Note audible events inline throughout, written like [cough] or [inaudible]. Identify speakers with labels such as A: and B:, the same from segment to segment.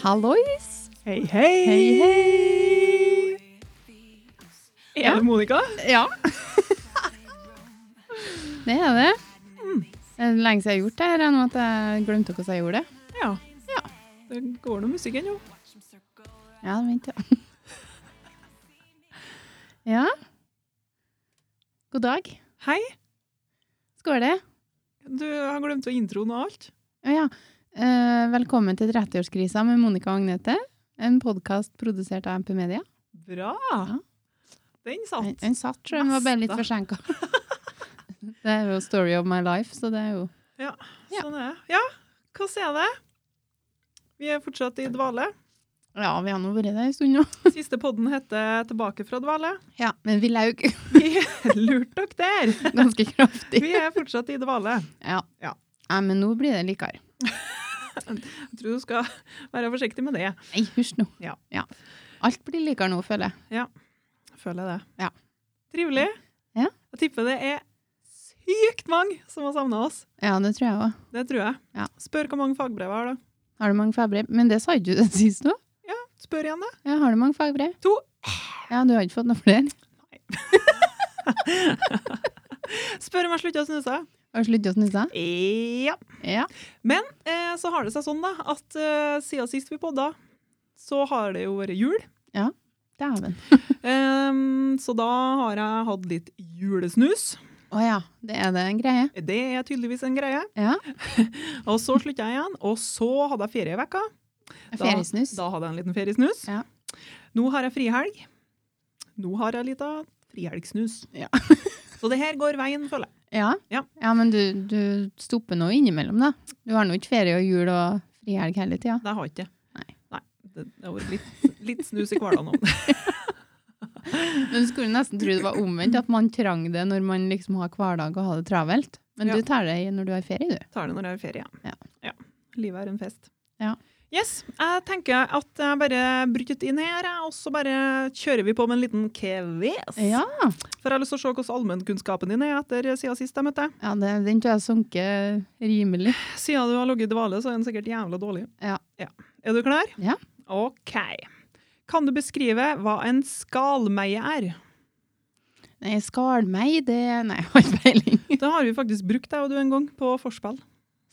A: Hallois!
B: Hei, hei!
A: Hei, hei!
B: Er det Monica?
A: Ja. [laughs] det er det. Det er lenge siden jeg har gjort det her, nå at jeg glemte hvordan jeg gjorde det.
B: Ja. Det går noe musikk ennå.
A: Ja, vent, ja. [laughs] ja. God dag.
B: Hei!
A: Skål det.
B: Du har glemt å introen og alt.
A: Å ja. Eh, velkommen til 30-årskrisa med Monica og Agnete. En podkast produsert av MP Media.
B: Bra!
A: Ja.
B: Den
A: En,
B: satt.
A: en satt, tror jeg. Den var bare litt forsinka. [laughs] det er jo story of my life, så det er jo ja.
B: Sånn er det. Ja, hva er det? Vi er fortsatt i dvale.
A: Ja, vi har nå vært der en stund nå.
B: Siste podden heter 'Tilbake fra dvale'.
A: Ja, men vi laug
B: Vi [laughs] lurte dere der!
A: [laughs] ganske kraftig.
B: Vi er fortsatt i dvale.
A: Ja.
B: Ja.
A: Nei, men nå blir det likere.
B: Jeg tror du skal være forsiktig med det.
A: Nei, hysj nå.
B: Ja.
A: Alt blir likere nå, føler jeg.
B: Føler jeg det.
A: Ja.
B: Trivelig.
A: Ja.
B: Jeg tipper det er sykt mange som har savna oss.
A: Ja, det tror jeg òg.
B: Det tror jeg.
A: Ja.
B: Spør hvor mange fagbrev jeg har, da.
A: Har du mange fagbrev? Men det sa ikke du det sist nå.
B: Spør igjen, da.
A: Ja, har du mange fagbrev?
B: To.
A: Ja, du har ikke fått noe flere?
B: Spør om jeg slutter å snuse.
A: Har du sluttet å snuse?
B: Ja.
A: Ja.
B: Men eh, så har det seg sånn, da, at eh, siden sist vi podda, så har det jo vært
A: [laughs]
B: jul.
A: Dæven.
B: Ehm, så da har jeg hatt litt julesnus.
A: Å ja, det er det en greie.
B: Det er tydeligvis en greie.
A: Ja.
B: Og så slutta jeg igjen. Og så hadde jeg ferie i vekka.
A: Feriesnus.
B: Da hadde jeg en liten feriesnus.
A: Ja.
B: Nå har jeg frihelg. Nå har jeg litt av frihelgsnus.
A: Ja.
B: [laughs] så det her går veien, føler jeg.
A: Ja.
B: Ja.
A: ja, men du, du stopper nå innimellom, da. Du har nå ikke ferie og jul og frihelg hele tida.
B: Det har jeg ikke.
A: Nei.
B: Nei. Det det har vært litt, litt snus i hverdagen nå.
A: Men du skulle nesten tro det var omvendt, at man trang det når man liksom har hverdag og har det travelt. Men
B: Ja.
A: du tar det i når du har ferie, du.
B: Tar det når jeg har ferie.
A: Ja.
B: Livet er en fest.
A: Ja.
B: Yes, jeg tenker at jeg bare bryter inn her, jeg, og så bare kjører vi på med en liten kves.
A: Ja,
B: For jeg har lyst til å se hvordan allmennkunnskapen din er etter siden sist jeg møtte deg.
A: ja det, den tror jeg sunker rimelig.
B: Siden du har ligget i dvale, så er den sikkert jævla dårlig.
A: Ja.
B: Er du klar?
A: Ja.
B: OK. Kan du beskrive hva en skalmeie er?
A: Nei, skalmei, det Nei, jeg har ikke peiling.
B: Det har vi faktisk brukt deg og du en gang på forspill.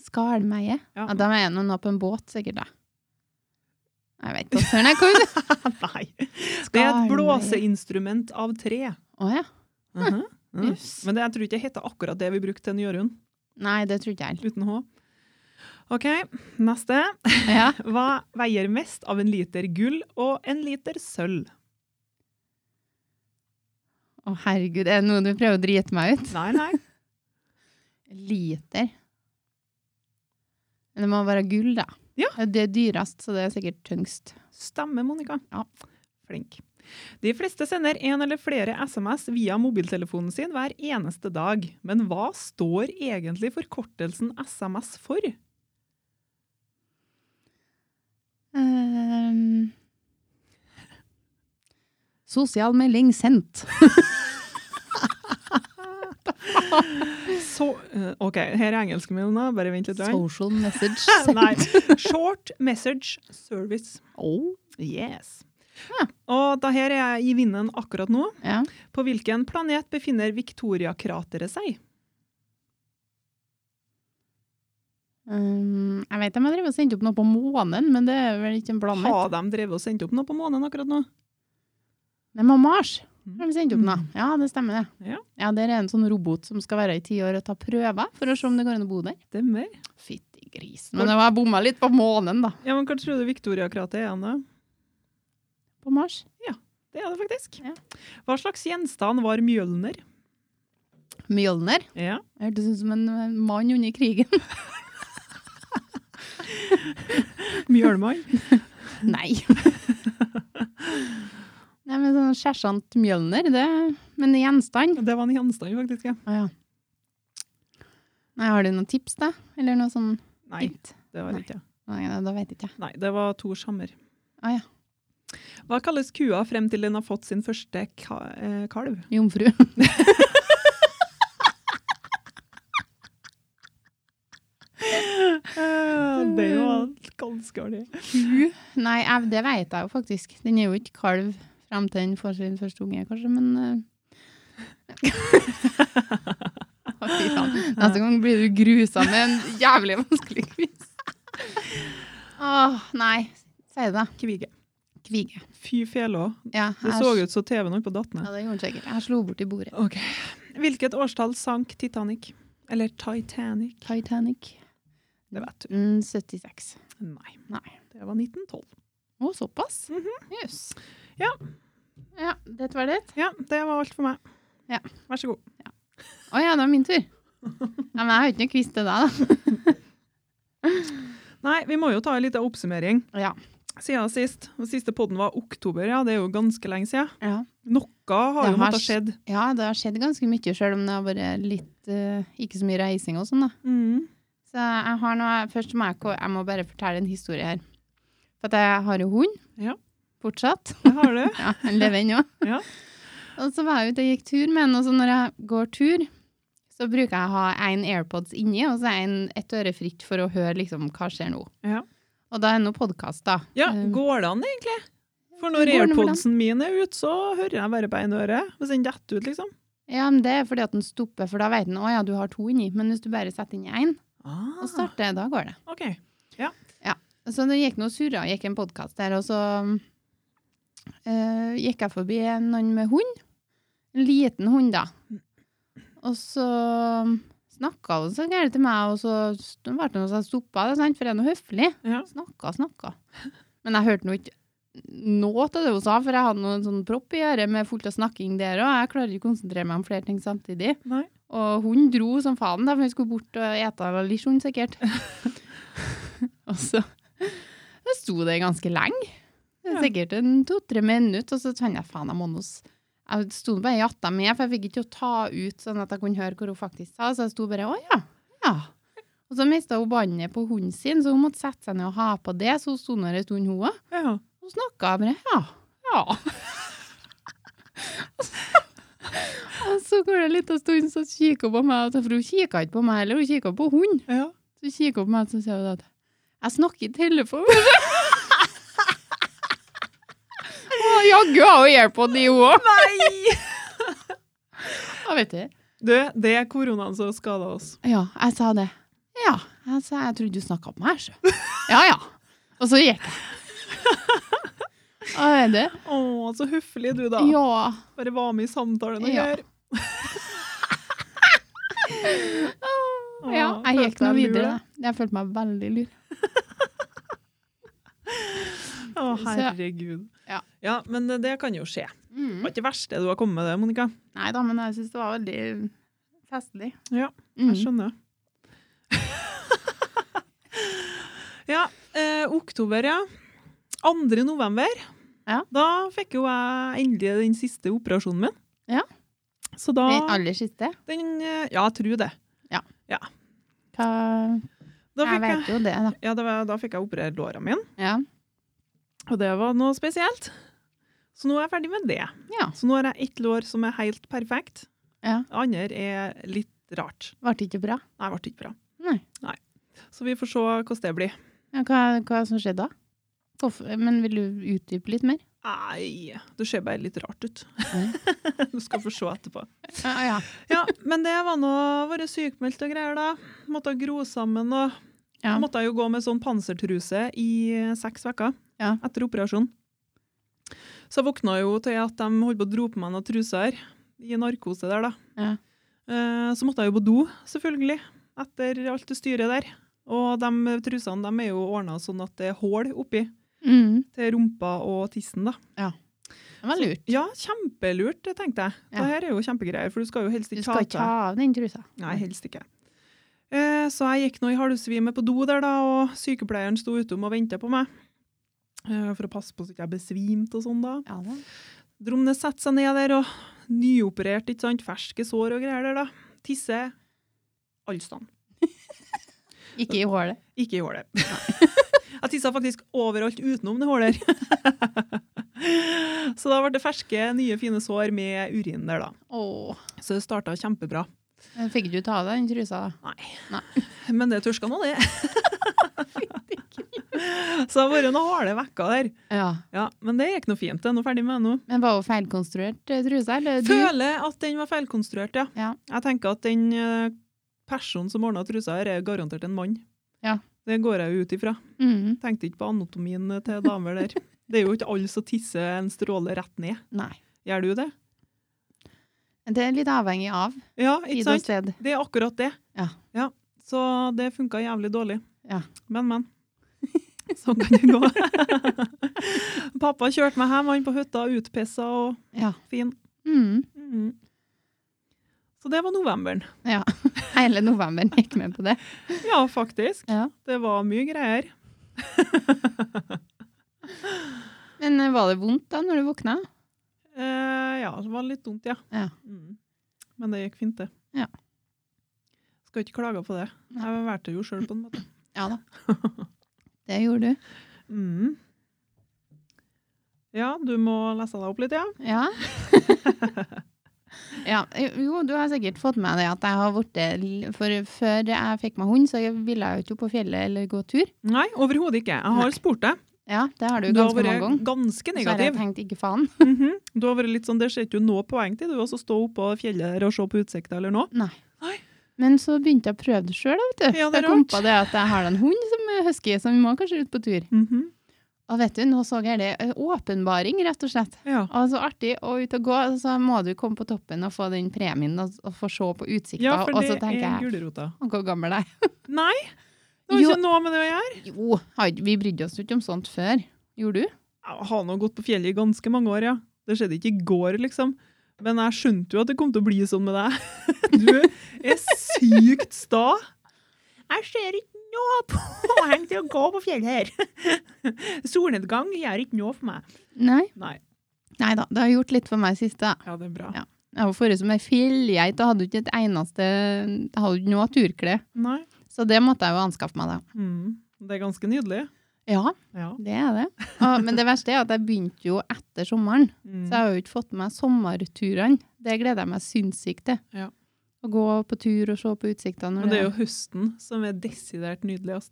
A: Skalmeie?
B: Ja.
A: Ja, da er det noen på en båt, sikkert, da. Jeg vet ikke hvordan jeg kan
B: [laughs] Nei. Det er et blåseinstrument av tre.
A: Å ja.
B: Mhm. Mhm.
A: Jøss.
B: Men det, jeg tror ikke det heter akkurat det vi brukte til en Jørund.
A: Nei, det tror ikke jeg heller.
B: Uten H. OK, neste.
A: Ja.
B: Hva veier mest av en liter gull og en liter sølv?
A: Å herregud, er det noe du prøver å drite meg ut?
B: Nei, nei.
A: Liter. Men det må være gull, da.
B: Ja.
A: Det er dyrest, så det er sikkert tyngst.
B: Stemmer, Monica.
A: Ja.
B: Flink. De fleste sender en eller flere SMS via mobiltelefonen sin hver eneste dag. Men hva står egentlig forkortelsen SMS for?
A: Ehm. sosial melding sendt.
B: Så, eh, OK, her er engelsken min. da. Bare vent litt. Svein.
A: Social message
B: [laughs] Nei.
A: sendt. [laughs]
B: Short message service.
A: oh.
B: Yes.
A: Ja.
B: Og da her er jeg i vinden akkurat nå.
A: ja.
B: På hvilken planet befinner Victoria-krateret seg?
A: Ehm, jeg vet de har drevet og sendt opp noe på månen, men det er vel ikke en planet?
B: Har de drevet og sendt opp noe på månen akkurat nå?
A: Det må Mars. Har de sendt opp noe? Ja, det stemmer det.
B: Ja.
A: Der er en sånn robot som skal være i ti år og ta prøver for å se om det går an å bo der.
B: Stemmer.
A: Fytti grisen. Men det var jeg bomma litt på månen, da.
B: Ja, men Hva tror du Victoria-krateret er? Anna?
A: På Mars.
B: Det er det faktisk.
A: Ja.
B: Hva slags gjenstand var Mjølner?
A: Mjølner.
B: [laughs] Ja.
A: Hørtes ut som en eh, mann under krigen. [laughs]
B: Mjølmann?
A: Nei. Nei, men sånn Sersjant Mjølner, det Men gjenstand?
B: Det var en gjenstand, faktisk. ja.
A: Å ja. Nei, har du noen tips, da? Eller noe sånn
B: Nei,
A: hint?
B: det var
A: Nei.
B: ikke.
A: Nei, da- da vet jeg ikke.
B: Nei, Ah, det var to skjammer.
A: Å ja.
B: Hva kalles kua frem til den har fått sin første ka eh, kalv? [laughs]
A: Jomfru.
B: Eh, det var Ganske artig.
A: Ku? Nei, jeg, det vet jeg jo faktisk. Den er jo ikke kalv frem til den får sin første unge, kanskje, men [laughs] eh. Å, Fy faen. Neste gang blir du grusa med en jævlig vanskelig quiz. Åh, nei. Si det.
B: Kvige.
A: Kvige.
B: Fy fjellå.
A: Ja,
B: Det
A: jeg-
B: så ut som TV-en holdt på å datt ned.
A: Ja, det gjorde den sikkert. Jeg slo borti bordet.
B: Ok. Hvilket årstall sank Titanic? Eller Titanic?
A: Titanic.
B: Det vet du.
A: Mm, 76.
B: Nei.
A: Nei.
B: Det var 1912.
A: Å, såpass? Jøss.
B: Mhm. Ja.
A: Ja, dette var det.
B: Ja, det var alt for meg.
A: Ja.
B: Vær så god.
A: Å ja, det var min tur. Ja, men jeg har jo ikke noe quiz til deg, da.
B: Nei, vi må jo ta en liten oppsummering.
A: Ja.
B: Siden sist. Den siste podden var oktober, ja. Det er jo ganske lenge siden.
A: ja.
B: Noe har
A: Det
B: jo
A: har
B: måttet skjedd.
A: Ja, det har skjedd ganske mye, selv om det har vært litt eh, Ikke så mye reising og sånn, da.
B: Mm.
A: Så jeg har noe, først må jeg, ko- jeg må bare fortelle en historie her. For at jeg har jo hund.
B: Ja.
A: Fortsatt.
B: Det har
A: [laughs]
B: du.
A: Ja, Han lever ennå.
B: Ja.
A: Og så var jeg ute og gikk tur med han, og så når jeg går tur, så bruker jeg å ha én AirPods inni og så en, et øre fritt for å høre liksom, hva skjer nå.
B: Ja.
A: Og da er det noe podkast, da.
B: Ja,
A: Eh,
B: går det an egentlig? For når
A: Det går nemlig an.
B: airpodsen min er ute, så hører jeg bare på en øre. Hvis den detter ut, liksom.
A: ja, men det er fordi at den stopper, for da vet den å ja, du har to inni. Men hvis du bare setter inn én og
B: Ah,
A: starter, da går det.
B: ok.
A: Så det gikk noe surra, gikk en podkast der, og så eh, gikk jeg forbi noen med hund. En liten hund, da. Og så snakka hun så gærent til meg, og så st- ble det noe som stoppa, da, sant, for jeg er nå høflig.
B: Ja.
A: Snakka, snakka. Men jeg hørte nå ikke noe av det hun sa, for jeg hadde noe sånn propp i øret med fullt av snakking der òg. Jeg klarer ikke å konsentrere meg om flere ting samtidig.
B: Nei.
A: Og hun dro som faen, da, for hun skulle bort og ete litt hund,
B: [laughs]
A: sikkert. og så jeg sto der ganske lenge.
B: Ja.
A: Sikkert en to-tre minutter, og så tenkte jeg faen, jeg må nå s- Jeg sto bare og jatta med, for jeg fikk ikke til å ta ut sånn at jeg kunne høre hva hun faktisk sa, så jeg sto bare å ja, ja. Og så mista hun båndet på hunden sin, så hun måtte sette seg ned og ha på det, så hun sto der en stund, hun òg.
B: Ja.
A: Hun snakka bare ja. Ja. [laughs] og så går det litt av stund, så kikker hun på meg, og så- for hun kikka ikke på meg heller, hun kikka på hunden.
B: ja.
A: Så kikker hun på meg og så sier hun at jeg snakker i [laughs] telefonen. Å, Jaggu har hun airpod i henne òg.
B: Nei! [laughs]
A: Ja, vet du.
B: Du, det er koronaen som skada oss.
A: Ja, jeg sa det. Ja, jeg sa jeg trodde du snakka om meg, sjø. Ja, ja. Og så gikk [laughs] jeg. Hva er det?
B: Å, så høflig du, da.
A: Ja.
B: Bare var med i samtalen og
A: Ja.
B: gjør. Å,
A: [laughs] ja. Jeg gikk
B: følte
A: nå
B: meg lur,
A: videre.
B: da.
A: da. Jeg følte meg veldig lur.
B: Å, herregud.
A: Ja.
B: men det, det kan jo skje. Det var ikke det verste du har kommet med, det, Monica.
A: Mm. Nei da, men jeg syns det var veldig festlig.
B: Ja,
A: Mm.
B: Jeg skjønner. [laughs] ja, eh, oktober, ja. 2. november.
A: Ja.
B: Da fikk jo jeg endelig den siste operasjonen min.
A: Ja.
B: Så da
A: Den aller siste.
B: den, eh, Ja, jeg tror det.
A: Hva
B: Da
A: Jeg
B: fikk jeg,
A: vet jo det, da.
B: ja, da, da fikk jeg operert låra mine.
A: Ja.
B: Og det var noe spesielt. Så nå er jeg ferdig med det.
A: ja.
B: Så nå har jeg ett lår som er helt perfekt.
A: Ja.
B: Det andre er litt rart.
A: Ble det ikke bra?
B: Nei, det ble ikke bra.
A: Nei.
B: Så vi får se hvordan det blir.
A: Ja, hva, hva som skjedde da? Hvorfor, men vil du utdype litt mer?
B: Nei, det ser bare litt rart ut. [laughs] du skal få se etterpå.
A: Ja, ja.
B: Ja, men det var nå vært sykmeldt og greier, da. Måtte gro sammen og
A: Ja.
B: Måtte jo gå med sånn pansertruse i eh, seks uker
A: Ja.
B: etter operasjonen. Så jeg våkna jo til at de holdt på å dro på meg noen truser i narkose der, da.
A: Ja.
B: Eh, Så måtte jeg jo på do, selvfølgelig, etter alt det styret der. Og de trusene de er jo ordna sånn at det er hull oppi
A: Mm.
B: til rumpa og tissen, da.
A: Det var lurt.
B: Ja, kjempelurt, det tenkte jeg.
A: Ja.
B: Det her er jo kjempegreier, for du skal jo helst
A: Du
B: ikke
A: skal ikke ta av den trusa.
B: Nei, helst ikke. Eh, Så jeg gikk nå i halvsvime på do der, da, og sykepleieren sto utom og venta på meg. eh, For å passe på så ikke jeg besvimte og sånn, da.
A: Ja, da.
B: Dromnes setter seg ned der, og nyoperert, ikke sant, ferske sår og greier der, da. Tisse alle steder.
A: Ikke i hålet.
B: Ikke i hålet. [laughs] Jeg tissa faktisk overalt utenom det hålet der. [laughs] Så da ble det ferske, nye, fine sår med urin der, da.
A: Åh.
B: Så det starta kjempebra.
A: Men Fikk du ta av deg den trusa da?
B: Men det tørska nå, det. [laughs] Så det har vært noen harde vekker der.
A: Ja.
B: Ja, Men det gikk nå fint. Jeg er nå ferdig med det nå.
A: Men var hun feilkonstruert eh, truse, eller du?
B: Føler at den var feilkonstruert, ja.
A: Ja.
B: Jeg tenker at den eh, personen som ordna trusa her, er garantert en mann.
A: Ja.
B: Det går jeg jo ut ifra.
A: Mhm.
B: Tenkte ikke på anatomien til damer der. Det er jo ikke alle som tisser en stråle rett ned.
A: Nei.
B: Gjør du det?
A: Det er litt avhengig av
B: Ja,
A: tid
B: ikke
A: og
B: sant?
A: sted.
B: Det er akkurat det.
A: Ja.
B: Så det funka jævlig dårlig.
A: Ja.
B: Men, men. Sånn kan det gå. Pappa kjørte meg hjem, han på hytta, utpissa og
A: Ja.
B: fin.
A: Mhm.
B: Mm. Så det var novemberen.
A: ja. Hele november gikk med på det.
B: Ja, faktisk.
A: Ja.
B: Det var mye greier.
A: Men eh, var det vondt da når du våkna?
B: Eh, ja, det var litt dumt, ja.
A: Ja.
B: Mm. Men det gikk fint, det.
A: Ja.
B: Skal ikke klage på det. Jeg valgte jo sjøl, på
A: [laughs]
B: en måte.
A: Ja da. Det gjorde du.
B: Mm. Ja, du må lese deg opp litt, ja. [laughs]
A: Ja. ja. Jo, du har sikkert fått med deg at jeg har blitt l- For før jeg fikk meg hund, så jeg ville jeg jo ikke på fjellet eller gå tur.
B: Nei, overhodet ikke. Jeg har
A: Nei.
B: spurt deg.
A: Ja, det har du
B: Du har
A: ganske mange
B: vært
A: ganger.
B: ganske
A: Så har jeg
B: negativ.
A: tenkt ikke faen.
B: Mhm. Du har vært litt sånn, Det ser ikke noe poeng til, du også stå oppå fjellet her og se på utsikta eller noe.
A: Nei.
B: Nei.
A: Men så begynte jeg å prøve det sjøl.
B: Ja, det er
A: jeg kom på det at jeg har en hund som er husky, så vi må kanskje ut på tur.
B: Mhm.
A: Og vet du, nå så jeg det. eh, Åpenbaring, rett og slett.
B: Ja,
A: Og så artig å ut og gå, og så må du komme på toppen og få den premien og, og få se på utsikta.
B: ja for
A: og så
B: det
A: tenker
B: er
A: jeg
B: gulrota.
A: «Å, Hvor gammel er jeg?
B: Nei! Det har
A: Jo.
B: ikke noe med det å gjøre.
A: Jo, har ikke- vi brydde oss jo ikke om sånt før. Gjorde du?
B: Jeg har nå gått på fjellet i ganske mange år, ja. Det skjedde ikke i går, liksom. Men jeg skjønte jo at det kom til å bli sånn med deg. [laughs] Du er sykt sta. Jeg ser ikke noe poeng til å gå på fjellet her. Solnedgang gjør ikke noe for meg.
A: Nei.
B: Nei.
A: Nei da, det har gjort litt for meg sist, da.
B: Ja, det er bra.
A: Ja. Jeg var forrige som ei fjellgeit og hadde jo ikke et eneste Jeg hadde jo ikke noe turkle.
B: Nei.
A: Så det måtte jeg jo anskaffe meg, da.
B: Mm. Det er ganske nydelig.
A: Ja,
B: Ja.
A: det er det. [laughs] Og, men det verste er at jeg begynte jo etter sommeren. Så jeg
B: Mm.
A: har jo ikke fått med meg sommerturene. Det gleder jeg meg sinnssykt til.
B: Ja.
A: Å gå på tur og se på utsiktene. når
B: Men det er jo høsten som er desidert nydeligst.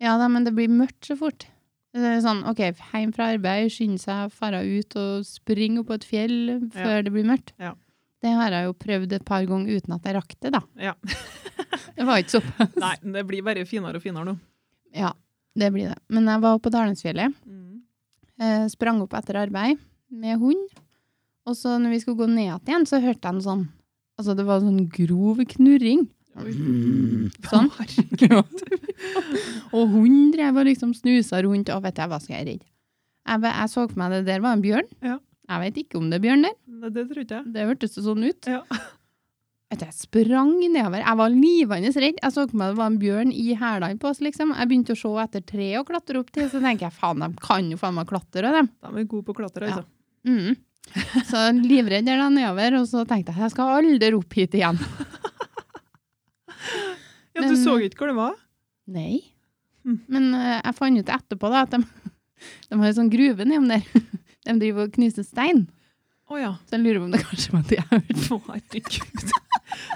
A: Ja da, men det blir mørkt så fort. Det er sånn, ok, Hjem fra arbeid, skynde seg, fare ut og springe opp på et fjell før det blir mørkt.
B: Ja.
A: Det har jeg jo prøvd et par ganger uten at jeg rakk det, da.
B: Ja.
A: [laughs] det var ikke såpass.
B: Nei, men det blir bare finere og finere nå.
A: Ja, det blir det. Men jeg var på Dalensfjellet,
B: Mm.
A: eh, sprang opp etter arbeid med hund. Og så når vi skulle gå ned igjen, så hørte jeg en sånn Altså, det var en sånn grov knurring.
B: Oi.
A: Sånn. og hun drev og liksom snusa rundt, og vet jeg hva skal jeg redde? Jeg, ba- jeg så for meg det der var en bjørn.
B: Ja.
A: Jeg vet ikke om det er bjørn der.
B: [laughs] Nei, Det tror ikke jeg.
A: Det hørtes jo sånn ut.
B: Ja.
A: [laughs] Vet du, jeg sprang nedover. Jeg var livende redd. Jeg så for meg det var en bjørn i hælene på oss, liksom. Jeg begynte å se etter tre å klatre opp til, så tenker jeg faen, de kan jo faen meg klatre, dem.
B: De er gode på å klatre, altså.
A: Mm.
B: [laughs]
A: Så livredd er jeg nedover, og så tenkte jeg jeg skal aldri opp hit igjen.
B: Ja,
A: Men-
B: du så ikke hvor det var?
A: Nei.
B: Mm.
A: Men eh, jeg fant ut etterpå da, at de, [laughs] de har en sånn gruve nedom der. [laughs] De driver og knuser stein.
B: Å ja.
A: [laughs] Så jeg lurer på om det kanskje var det jeg hørte.
B: Å, Herregud.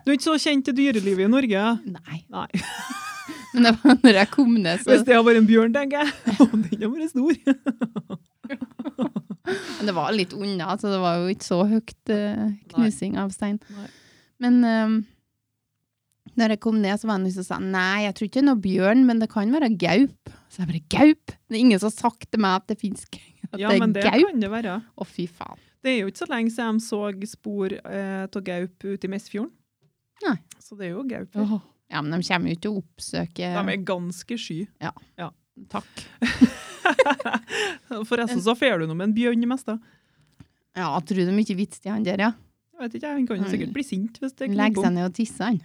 B: Du er ikke så kjent til dyrelivet i Norge.
A: Nei.
B: Nei.
A: [laughs] Men det var når jeg kom ned, så
B: Hvis det har vært en bjørn, tenker jeg. [laughs] Å, den har vært stor.
A: Men det var litt unna, så det var jo ikke så høyt eh, knusing av stein.
B: Nei.
A: Men eh, når jeg kom ned, så var det noen som sa nei, jeg tror ikke det er noe bjørn, men det kan være gaup. Så jeg bare gaup? Det er ingen som har sagt til meg at det fins at
B: Ja,
A: det
B: men
A: er
B: det
A: gaup?
B: kan det være.
A: Å, fy faen.
B: Det er jo ikke så lenge siden de så spor eh, av gaup ute i Mesfjorden.
A: Nei.
B: Så det er jo gaup. her.
A: Ja, men de kommer jo ikke til å oppsøke
B: De er ganske sky. [laughs]
A: Takk.
B: Forresten så fer du nå med en bjørn mest, da.
A: Ja, jeg tror det er mye vits til han der, ja.
B: Jeg vet ikke, Han kan jo
A: Nei.
B: sikkert bli sint hvis det
A: Legg
B: kniper
A: seg
B: om.
A: ned og tisse han.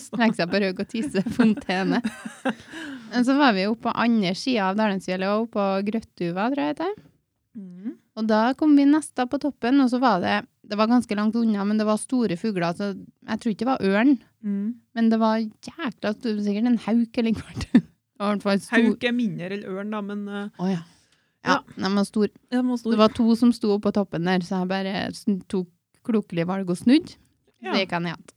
B: Så-
A: Legg seg på røg og tisse fontene. Men så var vi oppe på andre sida av Dalensfjellet, og oppe på Grøttuva, tror jeg det heter.
B: [laughs] Mm.
A: Og da kom vi nesta på toppen, og så var det Det var ganske langt unna, men det var store fugler, så jeg tror ikke det var ørn.
B: Mm.
A: Men det var jækla stor, sikkert en hauk eller noe. [laughs] Det var i hvert fall stor.
B: Hauk er mindre enn ørn, da, men eh,
A: Å ja. Ja, den var stor.
B: den var
A: Det
B: stor.
A: var to som sto oppå toppen der, så jeg bare sn- tok klokelig valg og snudde.
B: Ja.
A: Det gikk jeg ned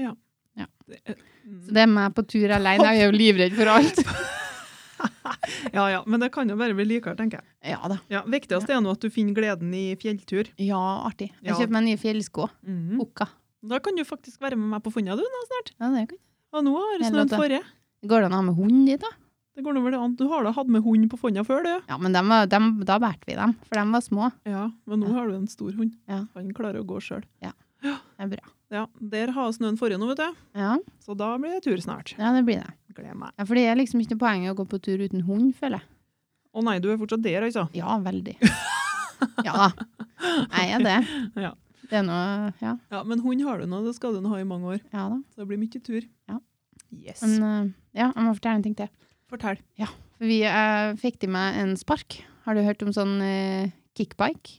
A: igjen.
B: Mm. [laughs]
A: Så det er meg på tur alene. Jeg er jo livredd for alt.
B: Ja, ja, men det kan jo bare bli likere, tenker jeg.
A: Ja da.
B: Ja, Viktigst er nå at du finner gleden i fjelltur.
A: Ja, artig. Jeg
B: Ja.
A: kjøper meg nye fjellsko.
B: Mm.
A: Okka.
B: Da kan du faktisk være med meg på funnet, du. nå.
A: Ja, det kan.
B: Og nå har det
A: Eller
B: snødd
A: at-
B: forrige.
A: Går det an å ha med hund dit, da?
B: Det går nå vel an. Du har da hatt med hund på fonda før, du.
A: Ja, men dem var, dem, da bærte vi dem, for de var små.
B: Ja, men nå har du en stor hund.
A: Ja.
B: Han klarer å gå sjøl.
A: Det er bra.
B: Ja, der har snøen forrige nå, vet du.
A: Ja,
B: Så da blir det tur snart.
A: ja det blir det.
B: Gleder meg.
A: Ja, for det er liksom ikke noe poeng i å gå på tur uten hund, føler jeg.
B: Å nei, du er fortsatt der, altså.
A: Ja, veldig. [laughs] Ja da. Jeg er det.
B: [laughs] Ja.
A: Det er noe Ja,
B: Ja, men hund har du nå, det skal du nå ha i mange år.
A: ja da.
B: Så det blir mye tur.
A: Ja.
B: Yes.
A: Men eh, ja, jeg må fortelle en ting til.
B: Fortell.
A: For vi eh, fikk til meg en spark. Har du hørt om sånn eh, kickbike?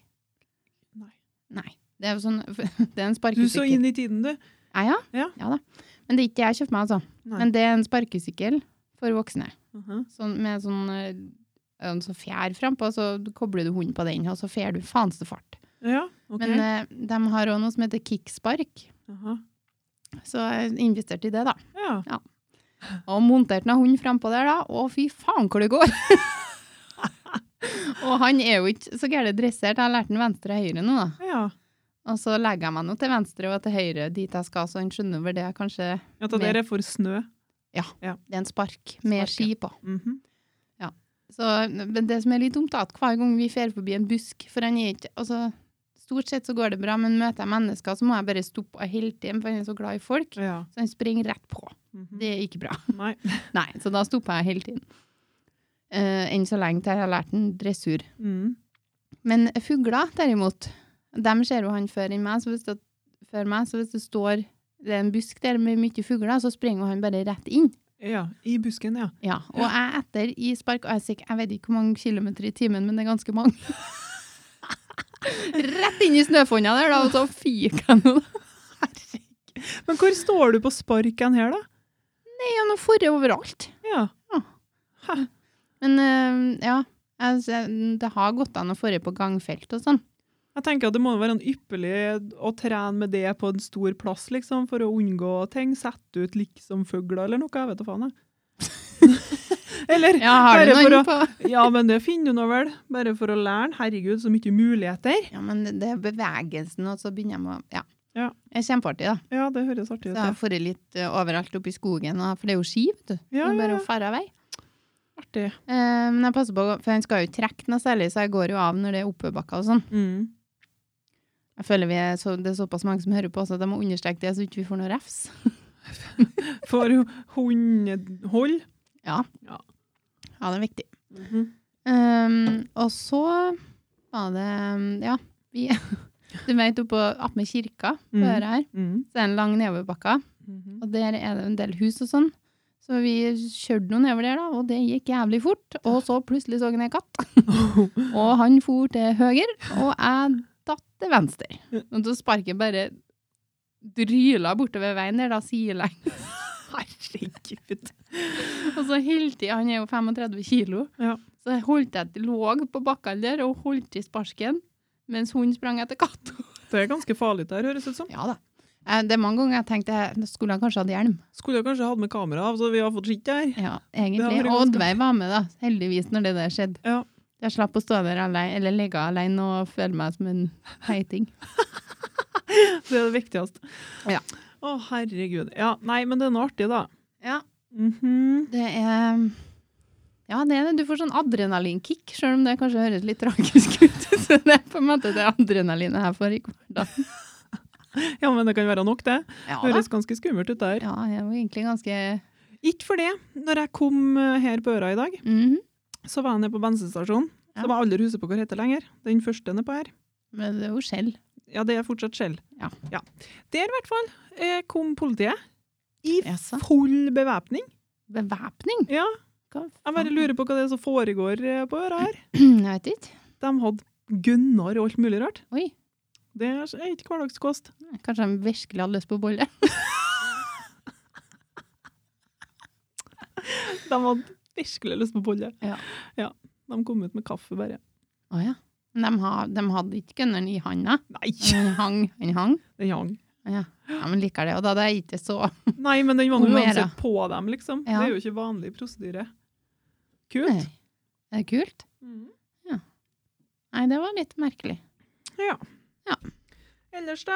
B: Nei.
A: Nei. Det er jo sånn [laughs] Det er en
B: Du så
A: sparkesykkel.
B: inn i tiden, du.
A: Ja, ja.
B: Ja.
A: ja da. Men det er ikke det jeg kjøpte meg, altså.
B: Nei.
A: Men det er en sparkesykkel for voksne.
B: Mhm.
A: Sånn, med sånn, eh, en sånn fjær frampå, så kobler du hunden på den, og så fer du faenste fart.
B: Ja, ok.
A: Men eh, de har òg noe som heter kickspark,
B: Aha.
A: så jeg investerte i det, da.
B: Ja.
A: Og monterte en hund frampå der, da. Å, fy faen hvor det
B: [laughs]
A: går! og han er jo ikke så gærent dressert. Jeg har lært han venstre og høyre nå, da.
B: ja.
A: Og så legger jeg meg nå til venstre og til høyre dit jeg skal, så han skjønner over det jeg kanskje
B: At det
A: Mer.
B: der er for snø.
A: Det er en spark med
B: Spark, ja.
A: ski på.
B: Mhm.
A: Så, men det som er litt dumt, er at hver gang vi fer forbi en busk For han er ikke altså, Stort sett så går det bra, men møter jeg mennesker, så må jeg bare stoppe og hele tiden, for han er så glad i folk.
B: Ja.
A: Så han springer rett på.
B: Mhm.
A: Det er ikke bra.
B: Nei.
A: Nei, så da stopper jeg hele tiden. Eh, enn så lenge til jeg har lært en dressur.
B: Mm.
A: Men fugler, derimot, dem ser jo han før enn meg, så hvis det, før meg, så hvis det står det er en busk der med mye fugler, så springer jo han bare rett inn.
B: Ja. I busken, ja.
A: Ja, og jeg etter i spark, og jeg, er sikker- jeg vet ikke hvor mange kilometer i timen, men det er ganske [laughs] mange. Rett inn i snøfonna der, da, og så fyker jeg nå.
B: Men hvor står du på sparken her, da?
A: Nei, han har forret overalt.
B: Ja.
A: Men eh, ja, jeg, ser- det har gått an å forre på gangfelt og sånn.
B: Jeg tenker at det må være en ypperlig å trene med det på en stor plass, liksom, for å unngå ting. Sette ut liksom fugler eller noe, jeg vet da faen, jeg. [laughs] eller
A: Ja, har du
B: bare for
A: noen
B: å
A: på?
B: Ja, men det finner du nå vel. Bare for å lære. Herregud, så mye muligheter.
A: Ja, men det- det er bevegelsen, og så begynner jeg med å Ja.
B: Ja.
A: Det er kjempeartig, da.
B: Ja, det høres artig
A: Så
B: ut.
A: jeg har
B: Ja.
A: forret litt eh, overalt oppe i skogen, og- for det er jo ski, vet du. Det
B: Ja,
A: er bare
B: ja,
A: å fare av vei.
B: artig.
A: Eh, Men jeg passer på, for han skal jo ikke trekke noe særlig, så jeg går jo av når det er oppebakker og sånn.
B: Mm.
A: Jeg føler vi er så, det er såpass mange som hører på, så jeg må understreke det, så ikke vi får noe refs.
B: For hundehold.
A: Ja, det er viktig.
B: Mhm.
A: Um, og så var det um, Ja, vi [laughs] Du vet, oppå attmed kirka, på
B: Mm.
A: øret her,
B: mm.
A: så er det en lang nedoverbakke,
B: Mhm.
A: og der er det en del hus og sånn. Så vi kjørte noe nedover der, da, og det gikk jævlig fort. Og så plutselig så jeg en katt,
B: Mhm. [laughs]
A: og han for til høyre, og jeg datt til venstre. Og så sparket bare dryla bortover veien der, da, sidelengs. [laughs]
B: Herregud.
A: Og så holdt jeg, han er jo 35 kilo,
B: Ja.
A: så jeg holdt jeg låg på bakken der og holdt i sparken, mens hun sprang etter katt.
B: Det er ganske farlig der, høres ut som.
A: Ja da. Eh, Det er mange ganger jeg tenkte jeg skulle han kanskje hatt hjelm.
B: Skulle jeg kanskje hatt med kamera av, så vi har fått skitt her. [laughs]
A: Ja,
B: Det
A: egentlig.
B: hadde vært
A: Og Oddveig var med, da, heldigvis, når det der skjedde.
B: Ja.
A: Jeg slapp å stå der alene, eller ligge alene og føle meg som en [laughs] heiting.
B: Det er det viktigste.
A: Ja.
B: Å, herregud. Ja, nei, men det er noe artig, da.
A: Ja,
B: Mhm.
A: det er ja, det er det. Du får sånn adrenalinkick, sjøl om det kanskje høres litt tragisk ut. [laughs] Så det er på en måte det adrenalinet jeg får i hverdagen.
B: Ja, men det kan være nok, det.
A: Ja, da.
B: Høres ganske skummelt ut der.
A: Ja, jeg er jo egentlig ganske
B: Ikke for det. Når jeg kom eh, her på øra i dag,
A: Mhm.
B: så var jeg nede på bensinstasjonen.
A: Ja.
B: Som jeg aldri husker på hva heter lenger. Den første nedpå her.
A: Men det er jo skjell.
B: Ja, det er fortsatt Shell.
A: Ja.
B: Der i hvert fall eh, kom politiet. I
A: Jaså.
B: full bevæpning.
A: Bevæpning?
B: Ja.
A: Hva faen?
B: Jeg bare lurer på hva det er som foregår eh, på øra her.
A: [clears throat] Jeg vet ikke.
B: De hadde gunner og alt mulig rart.
A: Oi.
B: Det er ikke hverdagskost.
A: Kanskje de virkelig hadde lyst på bolle?
B: De hadde virkelig lyst på bolle.
A: Ja.
B: Ja, De kom ut med kaffe, bare.
A: Å ja. Men de, ha, de hadde ikke gunneren i handa.
B: [laughs] Nei!
A: Den hang. Den hang.
B: Den hang.
A: Ja. ja, men liker det. Og da hadde jeg ikke så
B: Nei, men den var nå
A: Homera.
B: uansett på dem, liksom.
A: Ja.
B: Det er jo ikke vanlig prosedyre. Kult.
A: Nei. Er det kult?
B: Mm.
A: Nei, det var litt merkelig.
B: Ja.
A: Ja.
B: Ellers, da?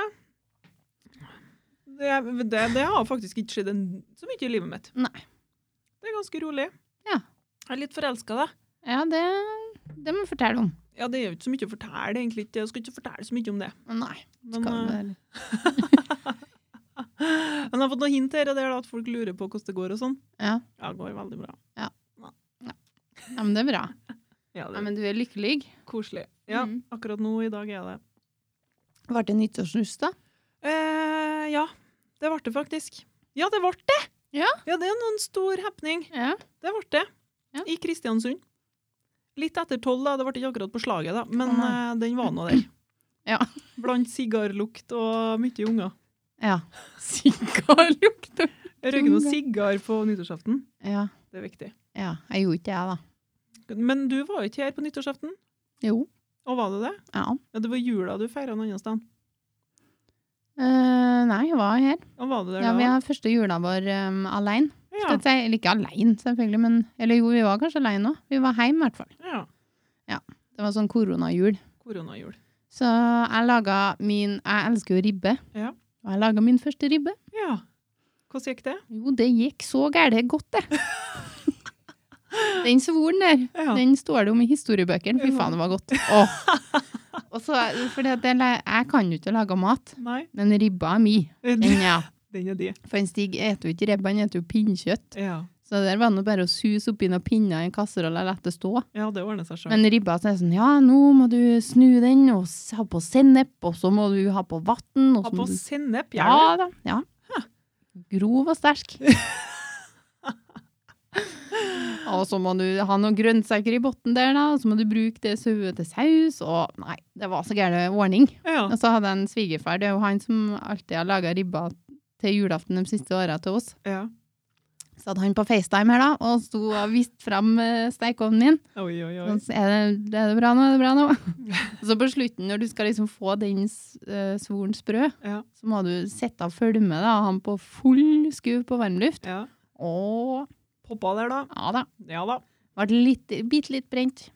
B: Det, det, det har faktisk ikke skjedd en, så mye i livet mitt.
A: Nei.
B: Det er ganske rolig.
A: Ja.
B: Jeg er litt forelska, da.
A: Ja, det, det må du fortelle om.
B: Ja, det er jo ikke så mye å fortelle, egentlig. ikke. Jeg skal ikke fortelle så mye om det.
A: Nei.
B: Men,
A: Skal
B: eh,
A: vel-
B: men jeg har fått noen hint her og der, da, at folk lurer på hvordan det går og sånn.
A: Ja.
B: Ja, det går veldig bra.
A: ja, men det er bra.
B: Ja,
A: Ja,
B: det er
A: men du er lykkelig.
B: koselig. Ja,
A: Mm.
B: akkurat nå i dag er det
A: Ble det nyttårsnuss, da?
B: eh, Ja, det ble det faktisk. Ja, det ble det!
A: Ja.
B: det er noen stor happening.
A: Ja.
B: Det ble det.
A: Ja.
B: I Kristiansund. Litt etter tolv, da. Det ble ikke akkurat på slaget, da, men
A: Å, nei.
B: eh, den var nå der.
A: [clears throat] Ja.
B: Blant sigarlukt og mye unger. [laughs]
A: ja. Sigarlukt.
B: Jeg røyker noe
A: Unger.
B: sigar på nyttårsaften.
A: Ja.
B: Det er viktig.
A: ja. Jeg gjorde ikke det, da.
B: Men du var jo ikke her på nyttårsaften.
A: Jo.
B: Og var det det?
A: Ja.
B: Ja, det var jula du feira noe annet sted.
A: Eh, nei, jeg var her.
B: Og var det der
A: Ja,
B: da?
A: vi har første jula vår um, alene.
B: Ja,
A: Skal jeg si, eller ikke alene, selvfølgelig, men Eller jo, vi var kanskje alene òg. Vi var hjemme, i hvert fall.
B: ja.
A: Det var sånn koronajul.
B: Koronajul.
A: Så jeg laga min Jeg elsker jo ribbe.
B: Ja.
A: Og jeg laga min første ribbe.
B: Ja. Hvordan gikk det?
A: Jo, det gikk så gæle godt, det.
B: [laughs]
A: Den svoren der,
B: Ja.
A: den står det om i historiebøkene. Fy
B: Ja.
A: faen, det var godt. Åh. Og så, fordi at jeg, la- jeg kan jo ikke lage mat,
B: Nei.
A: men ribba er mi. Den, ja.
B: [laughs] Den er de.
A: For en Stig eter jo ikke ribbe, han eter jo pinnkjøtt.
B: Ja.
A: Så der var det nå bare å suse oppi noen pinner i en kasserolle og la det stå.
B: ja, det ordner seg sjøl.
A: Men ribba så er det sånn, ja, nå må du snu den, og s- ha på sennep, og så må du ha på vann.
B: Ha på sennep, gjerne.
A: Ja da. Ja. Grov og sterk. og så må du ha noen grønnsaker i bunnen der, da, og så må du bruke det sauet til saus, og nei, det var så gæren ordning.
B: Ja.
A: Og så hadde jeg en svigerfar, det er jo han som alltid har laga ribba til julaften de siste åra til oss.
B: ja.
A: Så hadde han på FaceTime her, da, og sto og viste fram eh, stekeovnen min.
B: Oi, oi, oi.
A: Sånn, er, det, er det bra nå? Er det bra nå? [laughs] Og så på slutten, når du skal liksom få den uh, svoren sprø,
B: Ja.
A: så må du sette av følge da, han på full skuv på varmluft.
B: ja.
A: Og
B: Poppa der, da.
A: ja da,
B: Ja da.
A: ble litt, bitte litt brent.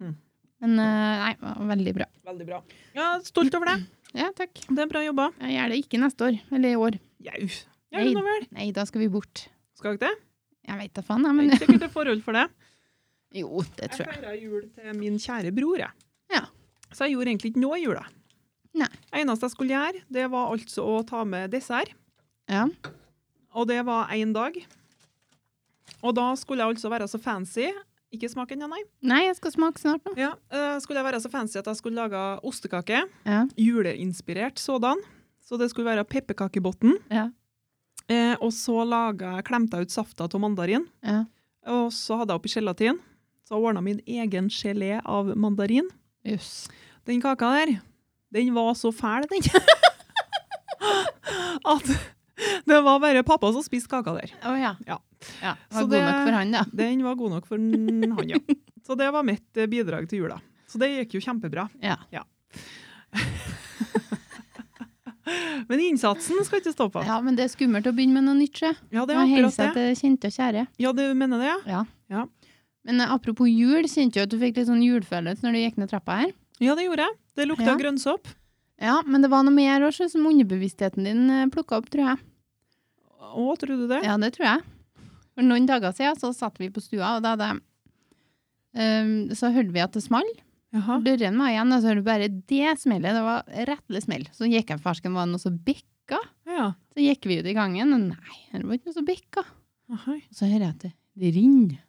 B: Hmm.
A: Men eh, nei, det var veldig bra.
B: Veldig bra. Ja, stolt over det.
A: Ja, takk.
B: Det er bra jobba.
A: Jeg gjør det ikke neste år, eller i år.
B: Jau. Ja, nå vel.
A: Nei, da skal vi bort.
B: Skal ikke det?
A: Jeg vet da faen, jeg,
B: Det er
A: men
B: ikke sikkert det er forhold for det.
A: Jo, [laughs] det
B: Jeg
A: tror jeg.
B: feira jul til min kjære bror, jeg.
A: Ja.
B: Så jeg gjorde egentlig ikke noe i jula.
A: Nei.
B: eneste jeg skulle gjøre, det var altså å ta med dessert.
A: Ja.
B: Og det var én dag. Og da skulle jeg altså være så fancy Ikke smake ennå, nei.
A: Nei, jeg skal smake snart nå.
B: Ja, eh, skulle jeg være så fancy at jeg skulle lage ostekake.
A: Ja.
B: Juleinspirert sådan. Så det skulle være pepperkakebunn.
A: Ja.
B: Eh, og så laga jeg klemte jeg ut safta av mandarin.
A: Ja.
B: Og så hadde jeg oppi gelatin. Så jeg ordna min egen gelé av mandarin.
A: Jøss.
B: Den kaka der, den var så fæl, den. [laughs] At det var bare pappa som spiste kaka der.
A: Å ja.
B: Ja.
A: ja. Det var
B: Så
A: god
B: det-
A: nok for han, da.
B: Den var god nok for n- han, ja. Så det var mitt eh, bidrag til jula. Så det gikk jo kjempebra.
A: Ja.
B: [laughs] Men innsatsen skal ikke stå på.
A: ja, men det er skummelt å begynne med noe nytt, sjø.
B: Ja, det
A: Det
B: er
A: må holde seg
B: akkurat det.
A: til kjente og kjære.
B: Ja, du mener det, ja?
A: Ja.
B: Ja.
A: Men eh, apropos jul, kjente du at du fikk litt sånn julefølelse når du gikk ned trappa her?
B: Ja, det gjorde jeg. Det lukta
A: Ja.
B: grønnsopp.
A: Ja, men det var noe mer også som underbevisstheten din plukka opp, tror jeg.
B: Å, tror du det?
A: Ja, det tror jeg. For noen dager siden så satt vi på stua, og da hadde jeg Ehm, så hørte vi at det small.
B: Jaha.
A: Døren var igjen, og så hørte vi bare det smellet. Det var rettelig smell. Så gikk jeg for farsken, var det noe som bikka?
B: Ja.
A: Så gikk vi ut i gangen, og nei, det var ikke noe som bikka.
B: Ahai.
A: Og så hører jeg at det, det rinner.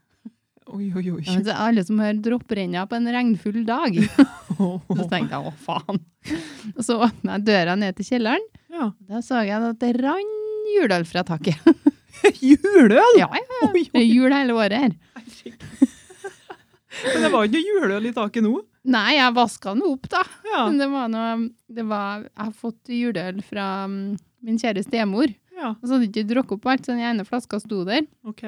B: Oi, oi, oi.
A: Ja, men så alle som hører dropprenna på en regnfull dag. Så tenkte jeg å, faen. Og så åpna jeg døra ned til kjelleren.
B: Ja. [laughs]
A: Da så jeg at det rann juleøl fra taket.
B: Juleøl!
A: [laughs] Ja, ja.
B: Oi,
A: Det er jul hele året her.
B: [laughs] Men det var ikke noe juleøl i taket nå.
A: Nei, jeg vaska den opp, da.
B: Ja.
A: Men det var noe det var, Jeg har fått juleøl fra mm, min kjære stemor.
B: ja.
A: Og så hadde jeg ikke drukket opp alt, så den ene flaska sto der.
B: OK.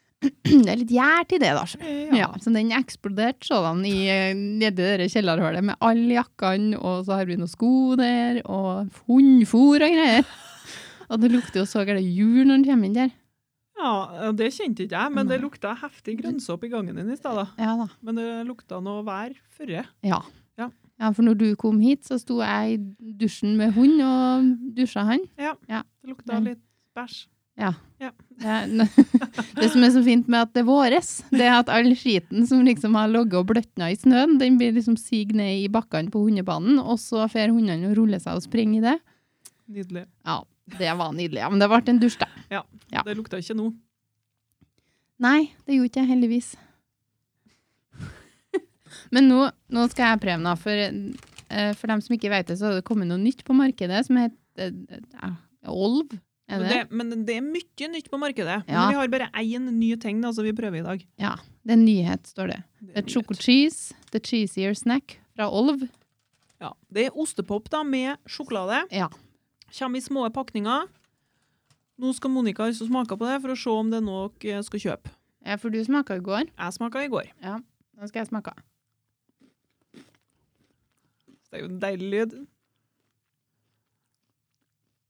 A: [clears throat] Det er litt gjær til det, da. skjønner du.
B: Ja.
A: Ja, så den eksploderte sådan i eh, nedi det kjellerhullet med alle jakkene, og så har vi noen sko der, [laughs] og hundfôr og greier. Og det lukter jo så gærent jul når den kommer inn der.
B: Ja, det kjente ikke jeg, men det
A: Nei.
B: lukta heftig grønnsåpe i gangen din i stad. da.
A: Ja da.
B: Men det lukta noe vær førre.
A: Ja.
B: Ja.
A: Ja, for når du kom hit, så sto jeg i dusjen med hund og dusja han.
B: Det lukta
A: Nei.
B: litt bæsj.
A: Det, er- [laughs] det som er så fint med at det er våres, det er at all skiten som liksom har ligget og bløtna i snøen, den blir liksom sig ned i bakkene på hundebanen, og så får hundene å rulle seg og springe i det.
B: Nydelig.
A: Ja, det var nydelig. Ja, men det ble en dusj, da. Ja.
B: Det lukta ikke nå.
A: Nei, det gjorde ikke jeg heldigvis. [laughs] Men nå, nå skal jeg prøve noe, for, eh, for dem som ikke vet det, så har det kommet noe nytt på markedet som heter eh, eh, Olv. Er
B: Men
A: det?
B: det,
A: det?
B: men det er mye nytt på markedet.
A: Ja.
B: Men vi har bare én ny ting da, som vi prøver i dag.
A: er en nyhet, står det.
B: Det
A: Det er
B: er nytt.
A: Choco Cheese, The Cheesier Snack fra Olv.
B: Ja. Det er ostepop da, med sjokolade.
A: Ja.
B: Kommer i små pakninger. Nå skal Monica altså smake på det for å se om det er noe jeg skal kjøpe.
A: Ja, for du smaka i går.
B: Jeg smaka i går.
A: Nå skal jeg smake.
B: Det er jo en deilig lyd.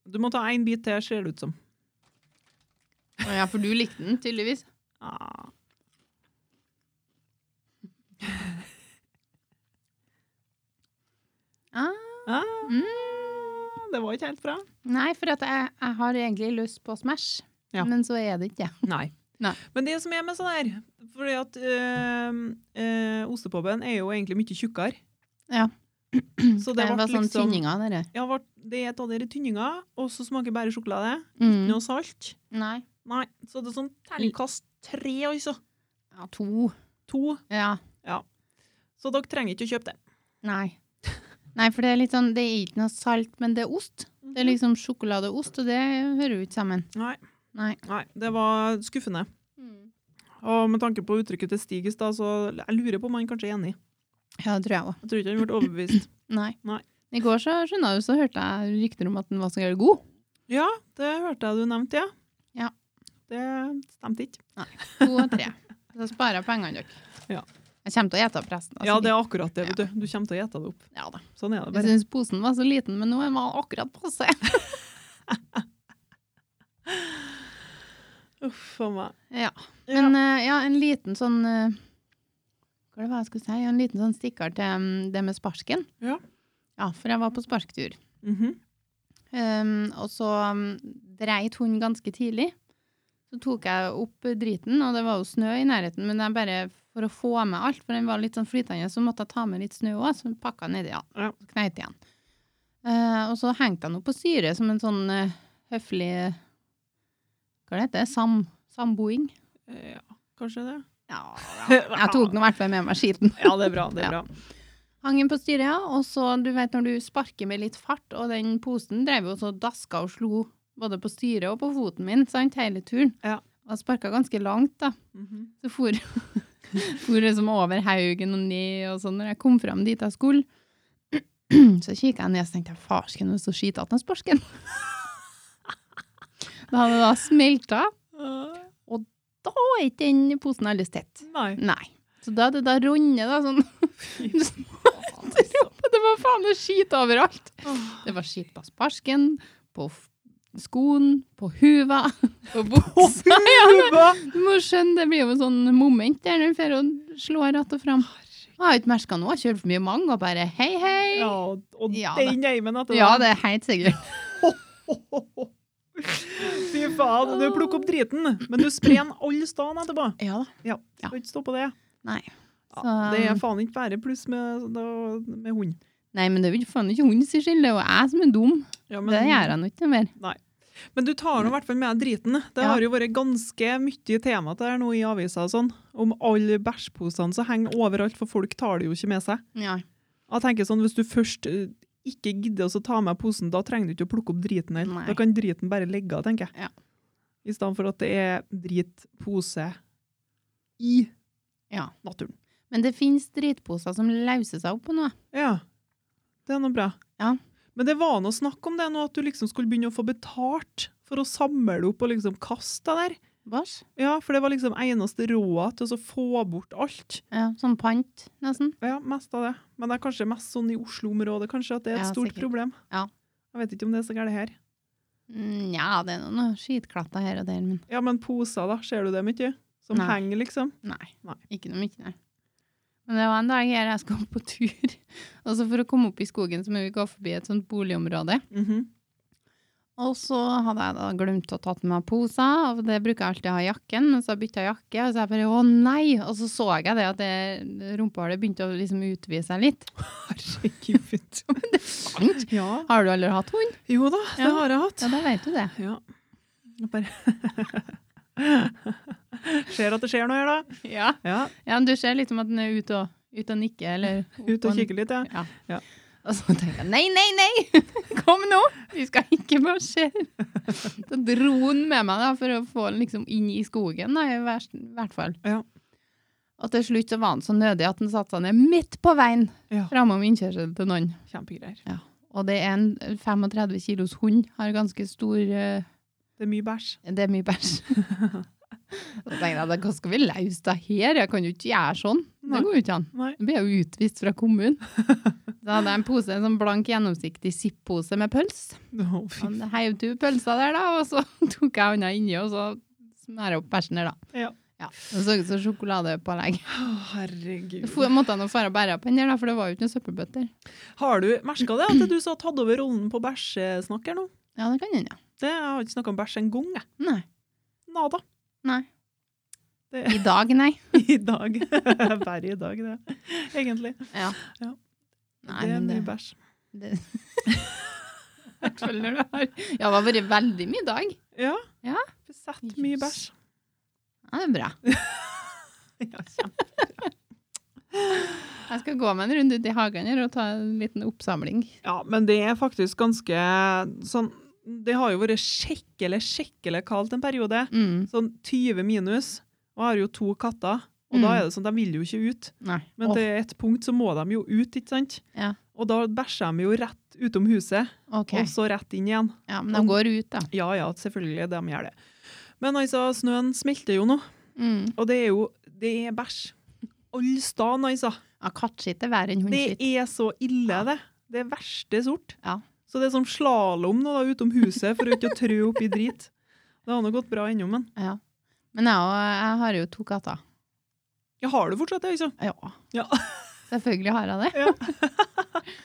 B: Du må ta én bit til, ser det ut som.
A: Å Ja, for du likte den tydeligvis.
B: Ah.
A: Ah.
B: Ah,
A: Mm.
B: det var ikke helt bra.
A: Nei, for at jeg, jeg har egentlig lyst på Smash,
B: Ja.
A: men så er det ikke det.
B: Nei.
A: Nei.
B: Men det som er med sånn her Fordi at øh, øh, ostepopen er jo egentlig mye tjukkere.
A: Ja.
B: Så
A: Det
B: det ble
A: var sånn
B: liksom
A: tynninga, dere.
B: ja, vart, Det er av dere tynninga, og så smaker bare sjokolade.
A: Mm.
B: Noe salt.
A: Nei.
B: Nei. Så det er sånn terningkast tre, altså.
A: Ja, to.
B: To.
A: Ja.
B: Så dere trenger ikke å kjøpe det.
A: Nei. Nei, for det er litt sånn, det er ikke noe salt, men det er ost. Det er liksom sjokolade og ost, og det hører jo ikke sammen.
B: Nei.
A: Nei. Mm.
B: Nei, det var skuffende. Og med tanke på uttrykket til Stig i stad, så jeg lurer på om han kanskje er enig.
A: Ja, det tror jeg òg.
B: Jeg tror ikke han ble overbevist.
A: Nei.
B: Nei.
A: I går så skjønna du, så hørte jeg rykter om at den var så jævlig god.
B: Ja, det hørte jeg du nevnte, ja.
A: Ja.
B: Det stemte ikke.
A: To og tre. Så sparer jeg pengene dere.
B: Ja.
A: Jeg kommer til å ete opp resten. altså.
B: Ja, det er akkurat det, vet du. Du kommer til å gjette det opp.
A: Ja da.
B: Sånn er
A: Jeg
B: det bare.
A: syns posen var så liten, men nå er den var akkurat passe.
B: Uff a meg.
A: Ja.
B: Ja.
A: Men eh, ja, en liten sånn eh, Hva var det jeg skulle si? Ja, En liten sånn stikker til mm, det med sparken.
B: Ja.
A: ja. For jeg var på sparktur.
B: Mhm.
A: Um, og så um, dreit hun ganske tidlig. Så tok jeg opp driten, og det var jo snø i nærheten, men jeg bare for å få med alt, for den var litt sånn flytende, så måtte jeg ta med litt snø òg, så pakka nedi ja.
B: Ja.
A: så kneit igjen. Eh, og så hengte jeg nå på syre som en sånn eh, høflig Hva det heter det? Sam, samboing?
B: Eh, Ja, kanskje det.
A: Ja, [laughs] jeg tok nå i hvert fall med meg skiten.
B: Ja, det er bra. Det er bra.
A: Hang inn på styret, ja. Og så, du vet, når du sparker med litt fart, og den posen drev jo så daska og slo både på styret og på foten min, sant, hele turen.
B: Ja.
A: Og jeg sparka ganske langt, da.
B: Mhm.
A: Så for, [laughs] for liksom over haugen og ned og sånn. Når jeg kom fram dit jeg skulle, [clears throat] så kikka jeg ned og så tenkte jeg, farsken, det er så skitete den sparken. [laughs] Da hadde det da smelta,
B: Eh,
A: og er ikke den posen aldri tett.
B: Nei.
A: Nei. Så da er det da ronde, da, sånn [laughs]
B: Fy faen, [laughs]
A: Det
B: altså.
A: var faen meg skit overalt.
B: Åh.
A: Det var skit på sparken, på f- skoen, på huva, [laughs] på buksa. Ja, men du [laughs] må skjønne, det blir jo sånn moment der når du får å slå rett og fram. Jeg har ikke merka noe, jeg kjørt for mye mange og bare hei, hei.
B: Ja, og
A: Ja, da.
B: den eimen etter
A: Ja,
B: den.
A: det er helt sikkert.
B: Fy faen, du plukker opp driten, men du sprer den alle stedene etterpå.
A: [laughs] Ja da.
B: Ja,
A: Ja.
B: skal ikke stå på det.
A: Nei.
B: Ja,
A: Så-
B: det er faen ikke bare pluss med, da- med hund.
A: Nei, men det er jo ikke faen ikke hundens skyld, det er jo jeg som er dum.
B: Ja,
A: Det gjør jeg nå ikke noe mer.
B: Men du tar nå i hvert fall med deg driten. eh. Det
A: Ja.
B: har jo vært ganske mye tema til her nå i avisa og sånn, om alle bæsjposene som henger overalt, for folk tar det jo ikke med seg.
A: Ja.
B: Jeg tenker sånn, Hvis du først eh, ikke gidder å ta med posen, da trenger du ikke å plukke opp driten heller.
A: Nei.
B: Da kan driten bare ligge, tenker jeg.
A: Ja.
B: I stedet for at det er dritpose i
A: Ja.
B: naturen.
A: Men det fins dritposer som lauser seg opp på noe.
B: Ja, det er noe bra.
A: Ja.
B: Men det var noe snakk om det nå, at du liksom skulle begynne å få betalt for å samle opp og liksom kaste det der.
A: Bæsj.
B: Ja, for det var liksom eneste rådet til å så få bort alt.
A: Ja, som pant, nesten.
B: Ja, mest av det. Men det er kanskje mest sånn i Oslo-området, kanskje, at det er et
A: Ja,
B: stort
A: sikkert.
B: problem.
A: Ja.
B: Jeg vet ikke om det er så gærent her.
A: Nja, det er noen noen skitklatter her og der, men
B: Ja, men poser, da. Ser du dem ikke? Som
A: Nei.
B: henger, liksom.
A: nei.
B: Nei.
A: Ikke noe mye, nei. Men det var en dag her jeg skulle på tur, [laughs] og så for å komme opp i skogen så må vi gå forbi et sånt boligområde.
B: Mhm.
A: Og så hadde jeg da glemt å tatt med meg poser, og det bruker jeg alltid å ha i jakken, men så bytta jeg jakke, og så jeg bare å nei! Og så så jeg det at det rumpehullet begynte å liksom utvide seg litt.
B: Herregud. [laughs]
A: Sant?
B: ja.
A: Har du aldri hatt hund?
B: Jo da, det
A: Ja.
B: har jeg hatt.
A: Ja, da vet du det.
B: Ja. Jeg bare [laughs] Ser at det skjer noe her, da.
A: [laughs] Ja,
B: Ja,
A: men du ser liksom at den er ute og, [laughs] ute og nikker, eller
B: Ut og kikke litt, ja.
A: Ja.
B: Ja.
A: Og så tenkte jeg nei, nei, nei! [laughs] Kom nå! Vi skal ikke marsjere. Så dro han med meg da, for å få den liksom inn i skogen, da, i vers- hvert fall.
B: Ja.
A: Og til slutt så var han så nødig at han satte seg ned midt på veien
B: Ja.
A: framom innkjørselen til noen.
B: Kjempegreier.
A: Og det er en 35 kilos hund, har ganske stor eh,
B: Det er mye bæsj.
A: Det er mye
B: [laughs]
A: bæsj. Så tenkte jeg, hva skal vi løse det her? Jeg kan jo ikke gjøre sånn. Det
B: Nei.
A: går jo ikke an.
B: Nei.
A: Da blir jeg jo utvist fra kommunen.
B: [laughs]
A: Så hadde jeg en pose, en sånn blank, gjennomsiktig Zipp-pose med pøls.
B: Å, fy.
A: Han heiv to pølser der, da, og så [laughs] tok jeg hånda inni, og så smæra jeg opp bæsjen der, da.
B: Ja.
A: Ja, Det så ut som sjokoladepålegg. [laughs]
B: Å, herregud.
A: Jeg for- måtte jeg nå fare og bære på den der, da, for det var jo ikke noen søppelbøtter.
B: Har du merka det, at du så har tatt over rollen på bæsjesnakk her nå?
A: Ja, det kan hende, ja.
B: Det, jeg har ikke snakka om bæsj en gang, jeg.
A: Nei. [laughs]
B: Nada.
A: Nei.
B: Det-
A: I dag, nei.
B: I dag. [laughs] Bare i dag, det. Egentlig.
A: Ja.
B: Ja.
A: Nei,
B: det er
A: men
B: mye
A: det,
B: bæsj.
A: det. [laughs] Jeg føler det har Ja, det har vært veldig mye i dag.
B: Ja.
A: Ja.
B: Sett mye
A: Jøss.
B: bæsj.
A: [laughs] Ja, det er bra.
B: Ja, kjempe.
A: Jeg skal gå meg en runde ut i hagen her og ta en liten oppsamling.
B: Ja, men det er faktisk ganske sånn Det har jo vært skikkelig, skikkelig kaldt en periode.
A: Mm.
B: Sånn 20 minus. Og jeg har jo to katter, og da
A: Mm.
B: er det sånn, de vil jo ikke ut.
A: Nei.
B: Men til et punkt så må de jo ut, ikke sant?
A: Ja.
B: Og da bæsjer de jo rett utom huset,
A: OK.
B: og så rett inn igjen.
A: Ja, men de går ut, da.
B: Ja ja, selvfølgelig, de gjør det. Men altså, snøen smelter jo nå,
A: Mm.
B: og det er jo Det er bæsj. Alle steder, altså.
A: Ja, Kattskitt er verre enn
B: Det
A: hundskitt.
B: er så ille, det. Det er verste sort.
A: Ja.
B: Så det er som slalåm nå, da, utom huset, for ikke å trø oppi drit. Det har nå gått bra ennå, men
A: Ja. Men jeg, og- jeg har jo to katter.
B: ja, har du fortsatt det, altså?
A: Ja.
B: Ja.
A: [laughs] Selvfølgelig har jeg det.
B: Ja.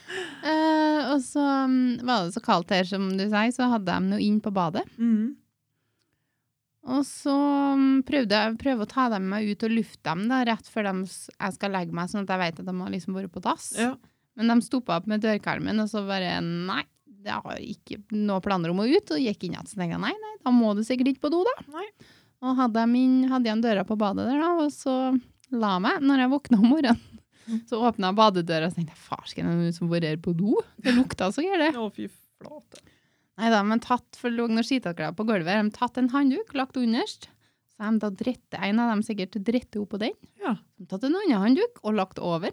A: [laughs] Eh, og så mm, var det så kaldt her, som du sier, så hadde de noe inn på badet.
B: Mhm.
A: Og så mm, prøvde jeg prøvde å ta dem med meg ut og lufte dem da, rett før de, s- jeg skal legge meg, sånn at jeg vet at de har liksom vært på dass.
B: Ja.
A: Men de stoppa opp med dørkarmen, og så bare Nei, jeg har ikke noe planer om å ut. Og gikk inn igjen. Så tenkte jeg nei, nei, da må du sikkert ikke på do, da.
B: Nei.
A: Og hadde jeg, min, hadde jeg en døra på badet der, da, og så la jeg meg når jeg våkna om morgenen. Så åpna jeg badedøra og så tenkte jeg, farsken, er det noen som har vært her på do? Det lukta så gærent.
B: Å, fy flate.
A: Nei da, men tatt, for det lå noen skitklær på gulvet. De tatt en handduk, lagt underst. Så de da drette, en av dem sikkert drette opp på den.
B: Ja.
A: De tatt en annen handduk og lagt over.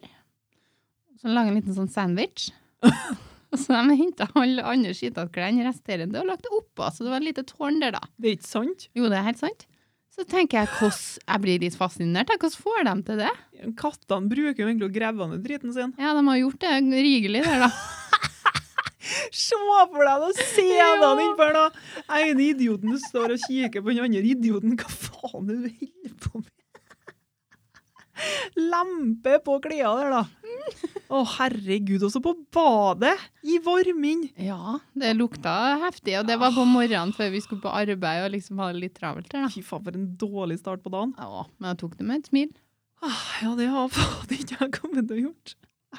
A: Så laget en liten sånn sandwich. og så de hentet alle andre skitklærne resterende og lagt oppå. Så det var et lite tårn der, da.
B: Det er ikke sant?
A: Jo, det er helt sant. Så tenker jeg hvordan Jeg blir litt fascinert. jeg. Hvordan får de til det?
B: Kattene bruker jo egentlig å grave ned driten sin.
A: Ja, de har gjort det rigelig der, da.
B: Se for deg det
A: Ja.
B: sedene innpå her, da! ene idioten du står og kikker på den andre idioten. Hva faen er det du holder på med? Lempe på klærne der, da. Å, herregud. Også på badet! I varmen!
A: Ja, det lukta heftig, og det var på morgenen før vi skulle på arbeid og liksom ha det litt travelt der, da.
B: Fy faen, for en dårlig start på dagen.
A: Ja, men jeg tok det med et smil.
B: Ah, Ja, det har faen ikke jeg kommet til å gjort.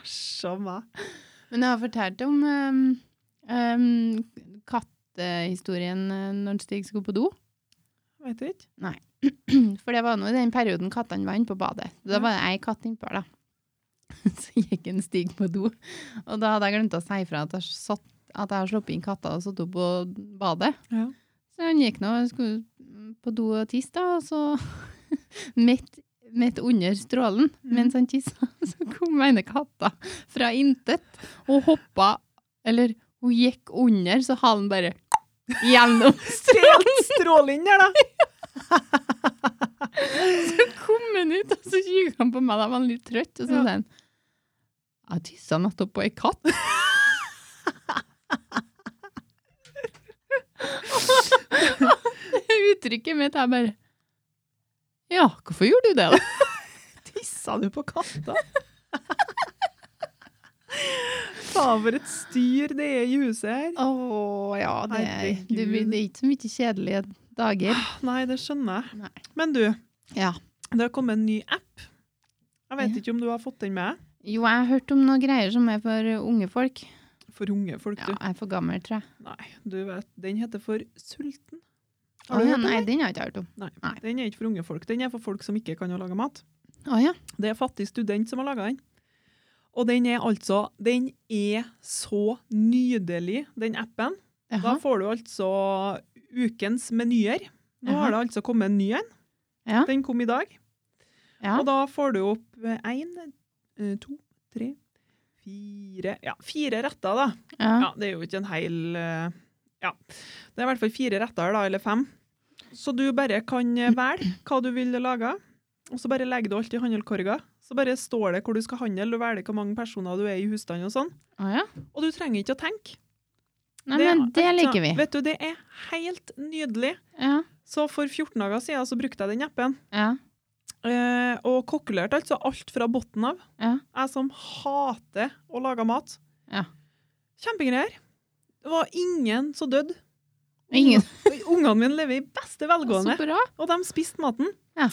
B: Æsj av meg.
A: Men jeg har fortalt om um, um, kattehistorien eh, når Stig skulle på do.
B: Veit ikke.
A: For det var nå i den perioden kattene var inne på badet. Da var det ei katt innpå, da. [laughs] Så gikk en Stig på do, og da hadde jeg glemt å si ifra at jeg satt at jeg har sluppet inn katta og satt opp på badet.
B: Ja.
A: Så han gikk nå og skulle på do og tisse, da, og så [laughs] midt, midt under strålen, mens han tissa, [laughs] så kom ene katta fra intet og hoppa Eller hun gikk under, så halen bare [laughs] gjennom
B: Helt strålende der, da!
A: Så [laughs] kom han ut, og så kikket han på meg, da var han litt trøtt, og så
B: Ja.
A: sa han Jeg tissa nettopp på ei katt. [laughs] Uttrykket mitt er bare Ja, hvorfor gjorde du det, [laughs] da?
B: Tissa du på katta? Faen, for et styr det er i huset her.
A: Å ja, det, er- det, blir-
B: Herregud.
A: det er ikke så mye kjedelige dager.
B: Nei, det skjønner jeg.
A: Nei.
B: Men du,
A: Ja.
B: det har kommet en ny app. Jeg vet
A: Ja.
B: ikke om du har fått den med?
A: Jo, jeg har hørt om noen greier som er for unge folk.
B: For unge folk,
A: Ja,
B: du.
A: jeg er for gammel, tror jeg.
B: Nei, du vet, den heter for Sulten.
A: Å,
B: Har du
A: ja,
B: hørt om
A: nei,
B: den?
A: den har jeg ikke hørt om.
B: Nei.
A: Nei.
B: Den er ikke for unge folk. Den er for folk som ikke kan å lage mat.
A: Å ja.
B: Det er fattig student som har laga den. Og den er altså Den er så nydelig, den appen. Da
A: Jaha.
B: får du altså ukens menyer. Nå
A: Jaha.
B: har det altså kommet en ny en.
A: Ja.
B: Den kom i dag.
A: Ja.
B: Og da får du opp én, to, tre, fire Ja, fire retter, da.
A: Ja.
B: Ja, Det er jo ikke en hel eh, Ja. Det er i hvert fall fire retter, da, eller fem. Så du bare kan eh, velge hva du vil lage, og så bare legger du alt i handelkorga. Så bare står det hvor du skal handle, du velger hvor mange personer du er i husstanden og sånn.
A: Å ja.
B: Og du trenger ikke å tenke.
A: Nei, men
B: er
A: det
B: altså-
A: liker vi.
B: Vet du, det er helt nydelig.
A: Ja.
B: Så for 14 dager siden så brukte jeg den appen,
A: Ja.
B: eh, og kokkelerte altså alt fra bunnen av.
A: Ja.
B: Jeg som hater å lage mat.
A: Ja.
B: Kjempegreier. Det var ingen som døde.
A: Ingen.
B: Ungene mine lever i
A: Så
B: beste
A: [laughs]
B: velgående,
A: bra.
B: og de spiste maten.
A: Ja.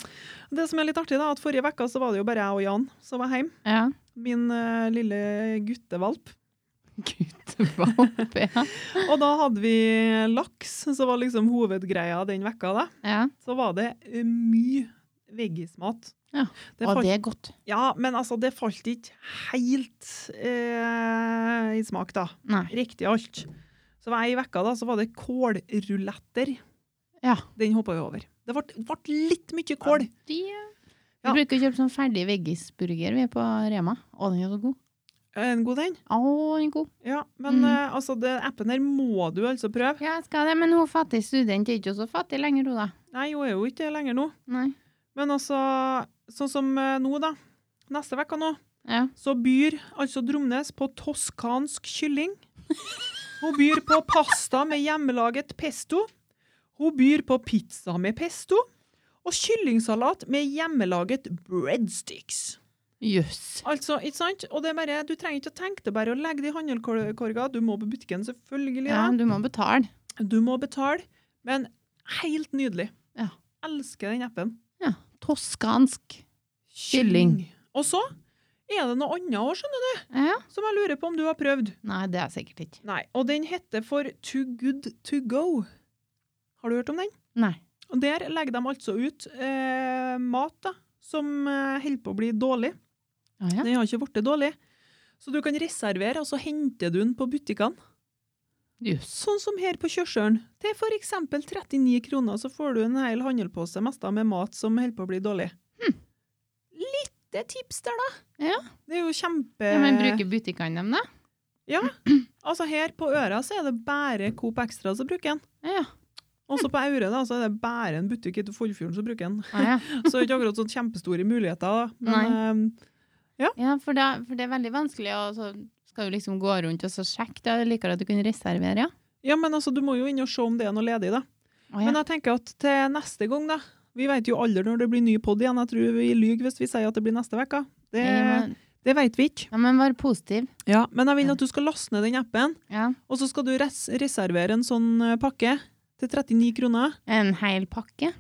B: Det som er litt artig, da, at forrige uke så var det jo bare jeg og Jan som var hjemme.
A: Ja.
B: Min eh, lille guttevalp.
A: Gud, [laughs] hva håper jeg?
B: Og da hadde vi laks, som var liksom hovedgreia den vekka. da.
A: Ja.
B: Så var det eh, mye veggismat.
A: Ja,
B: Det
A: Og
B: falt,
A: det er godt.
B: ja, men altså, det falt ikke helt eh, i smak, da.
A: Nei.
B: Riktig alt. Så var jeg i vekka da, så var det kålruletter.
A: Ja.
B: Den hoppa vi over. Det ble, det ble litt mye kål.
A: De,
B: Ja.
A: Vi bruker å kjøpe sånn ferdig veggisburger vi er på Rema. Å, den er så god.
B: En god den.
A: Å, den er god.
B: Ja, men
A: Mhm.
B: eh, altså, den appen her må du altså prøve.
A: Ja, jeg skal det, men hun fattig student er ikke så fattig lenger, hun da.
B: Nei, hun er jo ikke det lenger nå.
A: Nei.
B: Men altså, sånn som eh, nå da, neste vekka nå,
A: Ja.
B: så byr altså Dromnes på toskansk kylling. Hun byr på pasta med hjemmelaget pesto. Hun byr på pizza med pesto. Og kyllingsalat med hjemmelaget breadsticks.
A: Jøss.
B: Altså, ikke sant? Og det er bare, du trenger ikke å tenke det, bare å legge det i handelkorga. Du må på butikken, selvfølgelig.
A: Ja,
B: da.
A: du må betale.
B: Du må betale, men helt nydelig.
A: Ja.
B: Elsker den appen.
A: Toskansk. Kylling.
B: Og så er det noe annet òg, skjønner
A: Ja.
B: du, som jeg lurer på om du har prøvd.
A: Nei, det er sikkert ikke.
B: Nei, Og den heter for To Good To Go. Har du hørt om den?
A: Nei.
B: Og Der legger de altså ut eh, mat da, som eh, holder på å bli dårlig.
A: Å ja.
B: Den har ikke blitt dårlig. Så du kan reservere, og så henter du den på butikkene.
A: Jøss.
B: Sånn som her på Kjørsøren. Til f.eks. 39 kroner så får du en hel handlepose mest av med mat som holder på å bli dårlig. Lite tips der, da.
A: Hm. Ja.
B: Det er jo kjempe...
A: Ja, men bruker butikkene dem, da?
B: Altså Her på Øra så er det bare Coop Extra som bruker den.
A: Ja.
B: Også på Aure da, så er det bare en butikk ute i Foldfjorden som bruker den.
A: Å ja.
B: Så det er ikke akkurat sånn kjempestore muligheter. da. Men, ehm,
A: Ja, for, da, for det er veldig vanskelig, og så skal du liksom gå rundt og så sjekke. Da er det likere at du kan reservere, ja.
B: eh, ja, men altså, du må jo inn og se om det er noe ledig, da.
A: Å
B: Men
A: ja.
B: jeg tenker at til neste gang, da Vi vet jo aldri når det blir ny pod igjen. Jeg tror vi lyver hvis vi sier at det blir neste uke. Det,
A: Ja, men-
B: det vet vi ikke.
A: Ja, men vær positiv.
B: Ja, men jeg vil at du skal laste ned den appen,
A: Ja.
B: og så skal du res reservere en sånn eh, pakke til 39 kroner.
A: En hel pakke.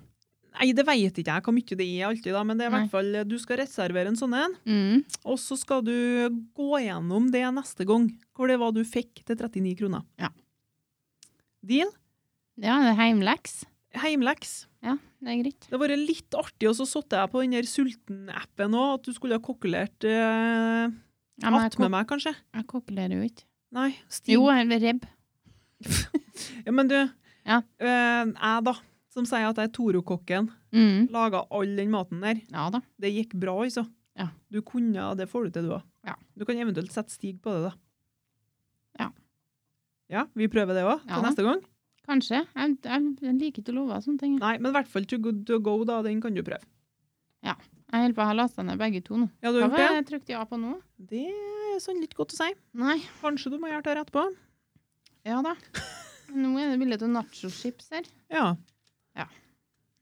B: Nei, det vet ikke jeg hvor mye det er alltid, da, men det er i
A: Nei.
B: hvert fall eh, Du skal reservere en sånn en,
A: Mm.
B: og så skal du gå gjennom det neste gang. Hvor det var du fikk til 39 kroner.
A: Ja.
B: Deal?
A: Ja, det er heimleks.
B: Heimleks.
A: Ja, det er greit.
B: Det har vært litt artig, og så satt jeg på den der sulten-appen òg, at du skulle ha kokkelert eh,
A: Ja, men jeg,
B: attmed
A: kok
B: meg, kanskje.
A: jeg kokulerer jo ikke.
B: Nei, Stig.
A: Jo, eller rebb.
B: Ja, men du,
A: Ja.
B: eh, jeg da, som sier at jeg er Toro-kokken,
A: Mm.
B: laga all den maten der.
A: Ja da.
B: Det gikk bra, altså.
A: Ja.
B: Du kunne, det får du til, du òg.
A: Ja.
B: Du kan eventuelt sette Stig på det, da.
A: Ja.
B: Ja, vi prøver det òg til
A: Ja da.
B: neste gang.
A: Kanskje. Jeg, jeg, jeg liker ikke å love sånne ting.
B: Nei, men i hvert fall to good to go, da. Den kan du prøve.
A: Jeg holder på å ha lasta ned begge to nå.
B: Ja, du
A: Hva
B: har
A: var det
B: gjort det?
A: jeg trykte ja på nå?
B: Det er sånn litt godt å si.
A: Nei. [laughs]
B: Kanskje du må gjøre det her etterpå.
A: Ja da. Nå er det bilde av nachoschips her.
B: Ja,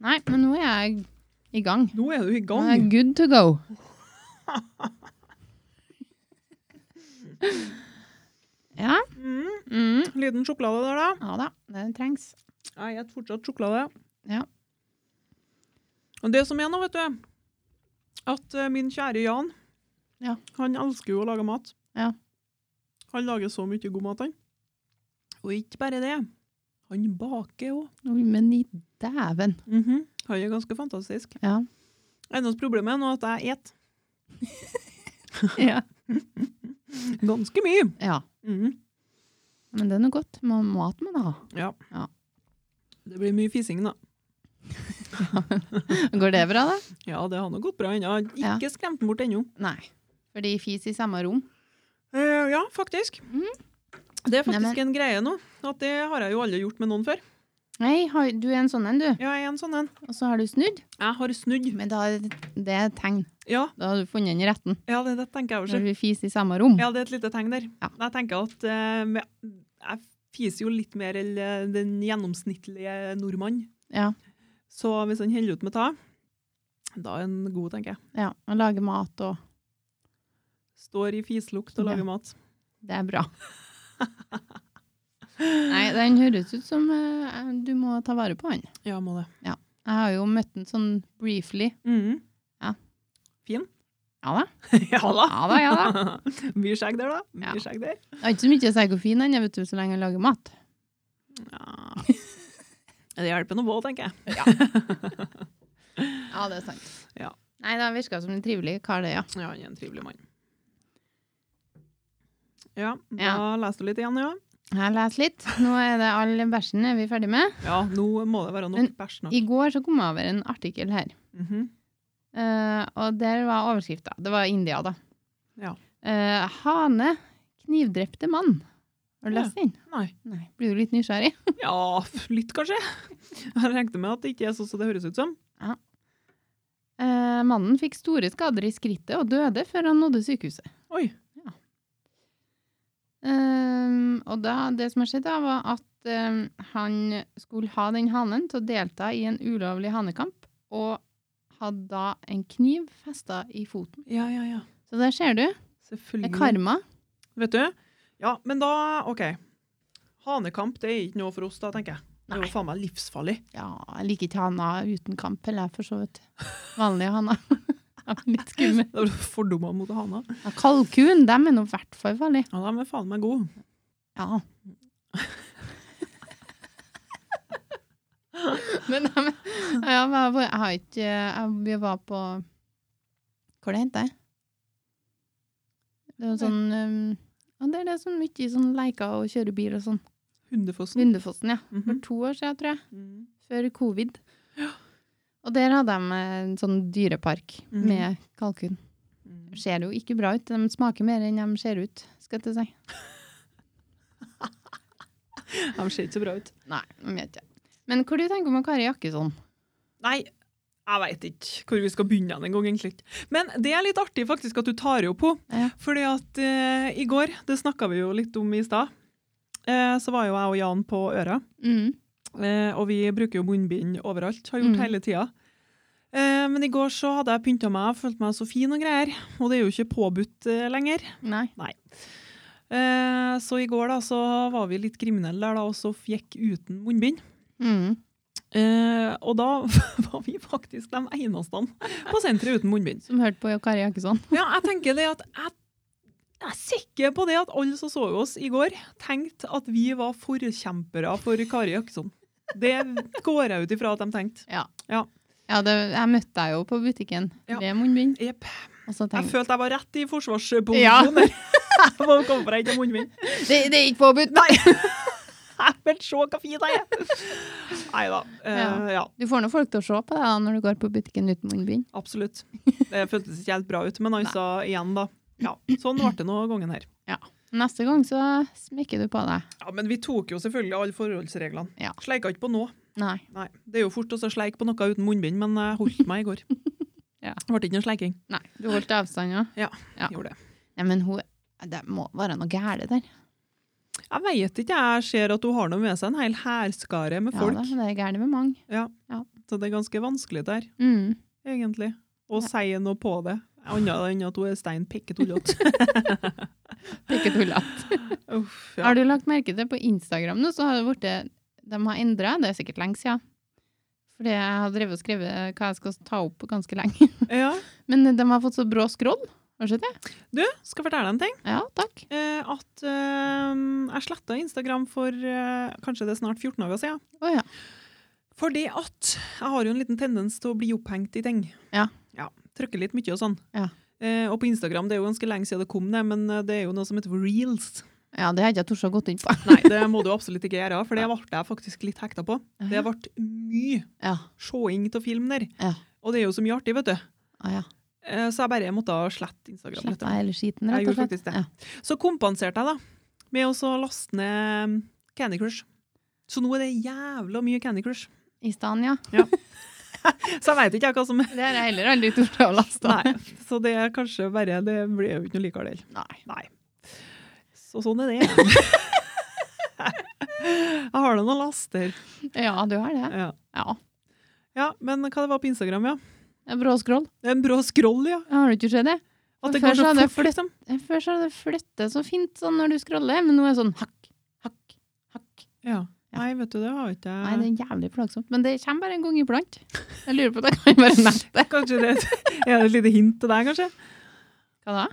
A: Nei, men nå er jeg i gang.
B: nå er du i
A: Nå er jeg
B: gang.
A: good to
B: [laughs]
A: go. ja.
B: Mm,
A: Mm.
B: liten sjokolade der, da.
A: Ja da, det trengs.
B: Jeg spiser fortsatt sjokolade.
A: Ja.
B: Og det som er nå, vet du, at eh, min kjære Jan,
A: Ja.
B: han elsker jo å lage mat.
A: Ja.
B: Han lager så mye god mat, han. Og ikke bare det. Han baker òg.
A: Oi, men i dæven.
B: Han er ganske fantastisk. [laughs]
A: Ja.
B: Eneste problemet er nå at jeg et
A: ja.
B: ganske mye.
A: Ja,
B: Mhm.
A: men det er noe godt. Man mat må da ha.
B: Ja.
A: Ja.
B: Det blir mye fising, da.
A: Går det bra, da?
B: Ja, det har nå gått bra ennå. Jeg har
A: Ja.
B: Ikke skremt den bort ennå.
A: Nei. Fordi fis i samme rom.
B: Eh, ja, faktisk.
A: Mhm.
B: Det er faktisk
A: Neimen.
B: en greie nå. At det har jeg jo aldri gjort med noen før.
A: Nei, har- du er en sånn en, du.
B: Ja, jeg er en sånn en.
A: Og så har du snudd.
B: Jeg har snudd.
A: Men da er det er et tegn.
B: Ja,
A: Da har du funnet den i retten.
B: ja det, det tenker jeg
A: Når
B: også.
A: du fiser i samme rom.
B: Ja, det er et lite tegn der.
A: Ja.
B: Jeg tenker at eh, med- jeg fiser jo litt mer enn eh, den gjennomsnittlige nordmann.
A: Ja.
B: Så hvis han holder ut med ta, da er han god, tenker jeg.
A: Ja, og lage mat og
B: Står i fislukt
A: Ja.
B: og lager mat.
A: Det er bra. Nei, den høres ut som eh, du må ta vare på den.
B: Ja, må det.
A: Jeg har jo møtt den sånn briefly.
B: [laughs] Mhm.
A: Ja.
B: Fin.
A: Ja da.
B: ja da.
A: Ja da, ja da.
B: [laughs] Mye skjegg der, da. Mye
A: Ja.
B: skjegg der.
A: Jeg har ikke så mye å si hvor fin den er, vet du, så lenge jeg lager mat.
B: Ja. Det hjelper noe på, tenker jeg.
A: Ja, det er sant.
B: Ja.
A: Nei, det virka som en trivelig kar, det, ja.
B: Ja, han er en trivelig mann. Ja, da
A: Ja.
B: leser du litt igjen, ja.
A: Jeg leser litt. Nå er det all bæsjen er vi ferdig med.
B: Ja, nå må det være nok
A: Men-
B: bæsj nå.
A: I går så kom jeg over en artikkel her,
B: Mhm.
A: eh, og der var overskrifta. Det var India, da.
B: Ja.
A: Eh, hane knivdrepte mann. Har du
B: Ja.
A: lest den?
B: Nei.
A: Nei. Blir du litt nysgjerrig?
B: Ja, f- litt kanskje. Jeg regnet med at det ikke er sånn som det høres ut som.
A: Eh, mannen fikk store skader i skrittet og døde før han nådde sykehuset.
B: Oi.
A: Eh, og da, det som har skjedd, da, var at eh, han skulle ha den hanen til å delta i en ulovlig hanekamp, og hadde da en kniv festa i foten.
B: Ja, ja, ja.
A: Så der ser du. Det
B: Selvfølgelig.
A: er karma.
B: Vet du? Ja, men da, ok. Hanekamp, det er ikke noe for oss da, tenker jeg. Det er
A: Nei.
B: jo faen meg livsfarlig.
A: Ja, jeg liker ikke haner uten kamp, eller jeg for så vidt. Vanlige haner. [laughs] Ja, Litt skummel.
B: Det er jo fordommer mot hana.
A: Ja, kalkun, dem er nå i hvert fall farlig.
B: Ja, de er faen meg gode.
A: Ja. [laughs] Men dem, ja, men jeg, var- jeg har ikke jeg, Vi var på Hvor det henta jeg? Det var sånn um, ja, Det er det som mye i sånn leker og kjøre bil og sånn.
B: Hundefossen.
A: Lundefossen, ja. For
B: Mhm.
A: to år siden, tror jeg.
B: Mm.
A: Før covid. Og der hadde de en sånn dyrepark
B: Mhm.
A: med kalkun. De ser jo ikke bra ut. De smaker mer enn de ser ut, skal jeg til å si.
B: De ser ikke så bra ut.
A: Nei, jeg vet ikke. Men hva du tenker om Kari Jakkesson?
B: Nei, jeg veit ikke hvor vi skal begynne en gang, egentlig. Men det er litt artig faktisk at du tar opp henne.
A: Ja.
B: Fordi at eh, i går, det snakka vi jo litt om i stad, eh, så var jo jeg og Jan på Øra.
A: Mm.
B: Eh, og vi bruker jo munnbind overalt, har gjort
A: Mm.
B: hele tida. Eh, men i går så hadde jeg pynta meg og følte meg så fin og greier. Og det er jo ikke påbudt eh, lenger.
A: Nei.
B: Eh, så i går da, så var vi litt kriminelle der da, og så gikk uten munnbind.
A: Mm.
B: Eh, og da [laughs] var vi faktisk de eneste på senteret uten munnbind.
A: Som hørte på Kari Jakkesson.
B: Ja, jeg tenker det at jeg, jeg er sikker på det at alle som så oss i går, tenkte at vi var forkjempere for Kari Jakkesson. Det går jeg ut ifra at de tenkte.
A: Ja, det, jeg møtte deg jo på butikken
B: Ja.
A: med munnbind.
B: Jepp.
A: Og så
B: Jeg
A: tenkte
B: følte jeg var rett i
A: Ja.
B: forsvarsposisjon. der. [laughs] Jeg må komme fra ikke munnen min.
A: jeg det, det er ikke påbudt!
B: Nei, Men se hva fin jeg er! Nei da.
A: Ja.
B: Eh, ja,
A: [laughs] Du får nå folk til å se på deg da, når du går på butikken uten munnbind.
B: absolutt. Det føltes ikke helt bra ut, men han sa igjen, da. Ja, sånn ble det nå gangen her.
A: Neste gang så smekker du på deg.
B: Ja, Men vi tok jo selvfølgelig alle forholdsreglene.
A: Ja.
B: Sleika ikke på nå.
A: Nei.
B: Nei, Det er jo fort å så sleike på noe uten munnbind, men jeg holdt meg i går.
A: Ja.
B: Det ble ikke noe sleiking.
A: Nei. Du holdt avstand òg? Ja.
B: Gjorde det.
A: Nei, men hun Det må være noe gærent der.
B: Jeg vet ikke, jeg ser at hun har noe med seg en hel hærskare med
A: Ja,
B: folk.
A: da, det er gærent med mange.
B: Så det er ganske vanskelig der,
A: Mm.
B: egentlig. Å
A: Ja.
B: si noe på det. Annet enn at hun er stein pikketullete.
A: [laughs] Det er ikke [laughs] tullete.
B: Uff,
A: Har
B: ja.
A: du lagt merke til på Instagram nå, så har det blitt De har endra, det er sikkert lenge siden. Fordi jeg har drevet og skrevet hva jeg skal ta opp ganske lenge.
B: ja.
A: Men de har fått så brå skroll. Har du sett det?
B: Du, skal fortelle en ting.
A: Ja, takk.
B: Eh, at eh, jeg sletta Instagram for eh, kanskje det er snart 14 dager siden.
A: Å ja.
B: Fordi at jeg har jo en liten tendens til å bli opphengt i ting.
A: Ja.
B: Trykke litt mye og sånn.
A: Ja.
B: Eh, og på Instagram, det er jo ganske lenge siden det kom det, men eh, det er jo noe som heter for reels.
A: ja, det har jeg ikke tort å gått inn på.
B: Nei, det må du absolutt ikke gjøre,
A: [laughs]
B: for det ble jeg faktisk litt hekta på. Det ble mye
A: Ja.
B: seing av film der.
A: Ja.
B: Og det er jo så mye artig, vet du.
A: Å ja.
B: Eh, Så jeg bare måtte slette Instagram.
A: Sletta
B: Slette.
A: hele skiten,
B: Jeg
A: rett og
B: gjorde
A: slett.
B: faktisk det. Så kompenserte jeg da med å så laste ned mm, Candy Crush. Så nå er det jævla mye Candy Crush.
A: I stedet, ja.
B: Så jeg veit ikke jeg hva som
A: Det har jeg heller aldri tort å laste.
B: Nei. Så det er kanskje bare Det blir jo ikke noe likere heller.
A: Nei.
B: Nei. Så sånn er
A: [laughs]
B: det. jeg har da noen laster.
A: Ja, du har det.
B: Ja.
A: Ja.
B: ja, men hva det var på Instagram, ja?
A: Det er Brå skroll.
B: Det er En brå scroll, ja.
A: Har du ikke sett det?
B: At det
A: Før
B: går
A: så
B: så
A: hadde jeg
B: fort, liksom.
A: Før så hadde det flyttet så fint sånn når du scroller, men nå er det sånn hakk, hakk, hakk.
B: Ja.
A: Ja.
B: Nei, vet du, det har ikke
A: Nei,
B: jeg
A: det er jævlig plagsomt. Men det kommer bare en gang iblant. Jeg lurer på at jeg kan være nett det.
B: Kanskje det er et lite hint til deg, kanskje?
A: Hva da?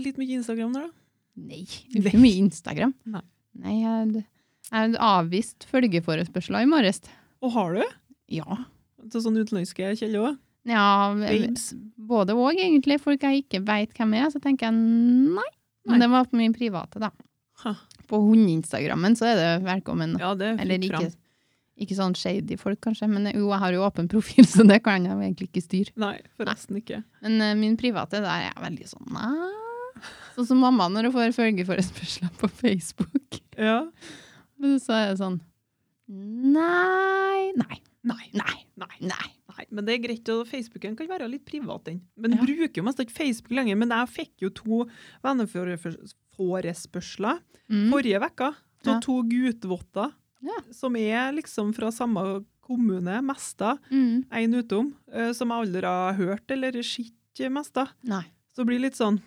B: Litt mye Instagram der, da.
A: Nei, det er ikke mye Instagram.
B: Nei.
A: Nei, jeg, jeg hadde avvist følgeforespørsler i morges.
B: Og har du?
A: Ja.
B: Til sånne utenlandske kjeller òg?
A: ja
B: Babes.
A: både og, egentlig. Folk jeg ikke vet hvem er, så tenker jeg nei. Men
B: Nei.
A: det var på min private, da.
B: Ha.
A: På hundeinstagrammen så er det velkommen.
B: Ja, det er
A: Eller
B: fritt
A: ikke,
B: fram.
A: ikke sånn shady folk, kanskje. Men jo, jeg har jo åpen profil, [laughs] så det kan jeg jo egentlig ikke styre.
B: Nei, forresten ikke.
A: Men eh, min private, der er jeg veldig sånn nei. Sånn som mamma når hun får følgeforespørsler på Facebook.
B: Ja.
A: Men så er det sånn Nei, nei,
B: Nei.
A: nei,
B: Nei.
A: nei.
B: Nei, men det er greit, og Facebooken kan være litt privat, den. Men
A: Ja.
B: bruker jo mest ikke Facebook lenger. Men jeg fikk jo to venneforespørsler
A: Mm.
B: forrige uke av
A: Ja.
B: to gutvotter
A: Ja.
B: som er liksom fra samme kommune, Mesta,
A: Mm.
B: en utom, eh, som jeg aldri har hørt eller sett mest av.
A: Nei.
B: Så det blir litt sånn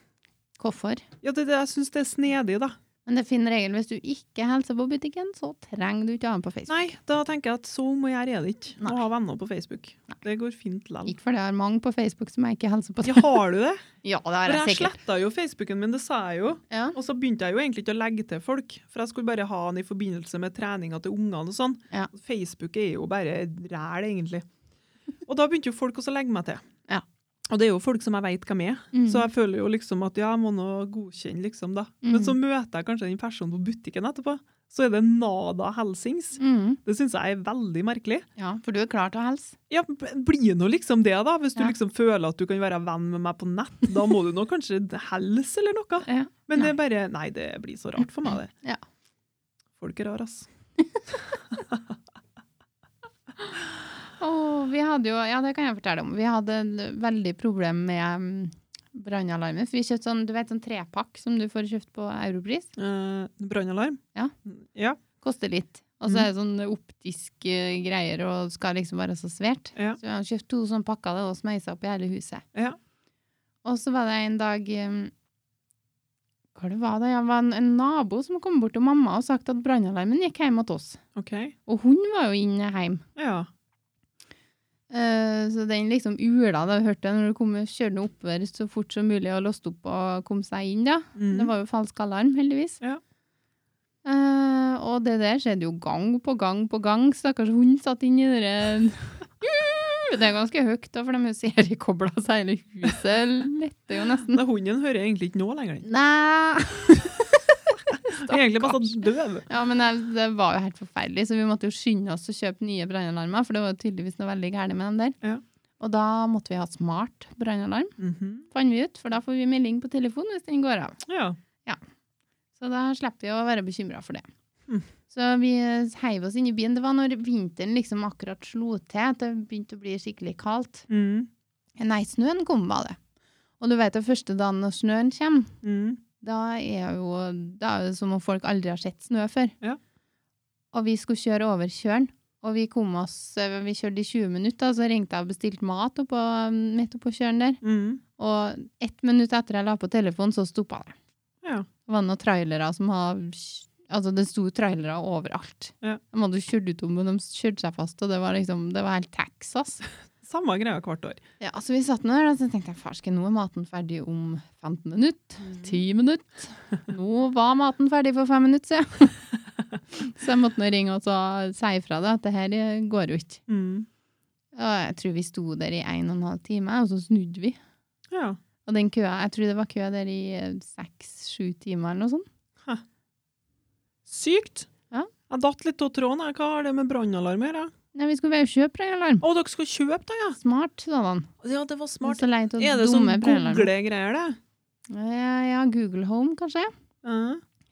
A: Hvorfor?
B: Ja, det, er det, jeg syns det er snedig, da.
A: Men det er fin regel. Hvis du ikke hilser på butikken, så trenger du ikke ha den på Facebook.
B: Nei, da tenker jeg at så må jeg gjøre det ikke.
A: Nei.
B: Å ha venner på Facebook.
A: Nei.
B: Det går fint lell.
A: [laughs] Ikke fordi jeg har mange på Facebook som jeg ikke hilser på.
B: Ja, har du det?
A: Ja, det har
B: For
A: jeg
B: jeg
A: sikkert.
B: sletta jo Facebooken min, det sa jeg jo.
A: Ja.
B: Og så begynte jeg jo egentlig ikke å legge til folk, for jeg skulle bare ha den i forbindelse med treninga til ungene og sånn.
A: Ja.
B: Facebook er jo bare
A: [laughs]
B: ræl, egentlig. Og da begynte jo folk også å legge meg til.
A: Ja.
B: Og det er jo folk som jeg veit hvem er,
A: Mm.
B: så jeg føler jo liksom at ja, jeg må nå godkjenne, liksom, da.
A: Mhm.
B: Men så møter jeg kanskje den personen på butikken etterpå, så er det nada helsings.
A: Mm.
B: Det syns jeg er veldig merkelig.
A: ja, for du er klar til å hilse.
B: Ja, b- Blir nå liksom det, da. Hvis du
A: Ja.
B: liksom føler at du kan være venn med meg på nett, da må du nå kanskje helse eller noe.
A: Ja.
B: Men det er bare Nei, det blir så rart for meg, det.
A: Ja.
B: Folk er rare, ass.
A: Åh, vi hadde jo, ja det kan jeg fortelle om. Vi hadde en veldig problem med mm, brannalarmen. For vi kjøpte sånn, du vet, sånn trepakk som du får kjøpt på Europris.
B: Eh, Brannalarm?
A: Ja.
B: ja.
A: Koster litt. Og
B: Mm.
A: så er det sånn optisk eh, greier og skal liksom være så svært.
B: Ja.
A: Så vi hadde kjøpt to sånne pakker det, og smeisa opp i hele huset.
B: Ja.
A: Og så var det en dag um, Hva det var det? Ja, det var en, en nabo som kom bort til mamma og sagt at brannalarmen gikk hjemme hos oss.
B: OK.
A: Og hun var jo inne hjemme.
B: Ja.
A: Eh, så den liksom ula da, hørte jeg når du kom kjørende oppover så fort som mulig og låste opp og kom seg inn da.
B: Mm.
A: Det var jo falsk alarm, heldigvis.
B: Ja.
A: Eh, og det der skjedde jo gang på gang på gang. Stakkars hund satt inn i det der. Det er ganske høyt, da, for de er jo seriekobla seg hele huset. Letter jo nesten.
B: Nei, hunden hører jeg egentlig ikke nå lenger. den.
A: Nei!
B: Den er Egentlig bare så døv.
A: Ja, men det, det var jo helt forferdelig, så vi måtte jo skynde oss å kjøpe nye brannalarmer, for det var jo tydeligvis noe veldig gærent med dem der.
B: Ja.
A: Og da måtte vi ha smart brannalarm,
B: Mhm.
A: fant vi ut, for da får vi melding på telefon hvis den går av.
B: Ja.
A: Så da slipper vi å være bekymra for det.
B: Mm.
A: Så vi heiv oss inn i byen. Det var når vinteren liksom akkurat slo til, at det begynte å bli skikkelig kaldt.
B: Mm.
A: Nei, snøen kom, var det. Og du vet, det første dagen når snøen kommer,
B: Mm.
A: Da er jo da er det som om folk aldri har sett snø før.
B: Ja.
A: Og vi skulle kjøre over kjølen, og vi kom oss, eh, vi kjørte i 20 minutter, og så ringte jeg og bestilte mat oppå, midt oppå kjølen der.
B: Mm.
A: Og ett minutt etter jeg la på telefonen, så stoppa det.
B: Ja.
A: Det var noen trailere som har Altså, det sto trailere overalt.
B: Ja.
A: De hadde kjørt ut om, og de kjørte seg fast, og det var liksom Det var helt
B: [laughs]
A: Texas.
B: Samme greia hvert år.
A: Ja, så vi satt nå der, og så tenkte jeg farske, nå er maten ferdig om 15
B: Mm.
A: minutter. 10
B: [laughs]
A: minutter. Nå var maten ferdig for 5 minutter siden. så jeg måtte nå ringe og så si ifra det, at det her eh, går jo ikke.
B: Mm.
A: Og jeg tror vi sto der i 1 12 timer, og så snudde vi.
B: Ja.
A: Og den køa, jeg tror det var køa der i eh, seks-sju timer eller noe sånt.
B: Sykt.
A: Ja.
B: Jeg datt litt av tråden. jeg. Hva har det med brannalarm å gjøre?
A: Nei, vi skulle være og kjøpe brannalarm.
B: Å, dere skal kjøpe det, ja?
A: Smart, sa han.
B: Ja, det var smart.
A: Så leit og
B: Er det sånn
A: dumme brannalarm.
B: google-greier, det?
A: Ja, ja, Google Home, kanskje.
B: Ja.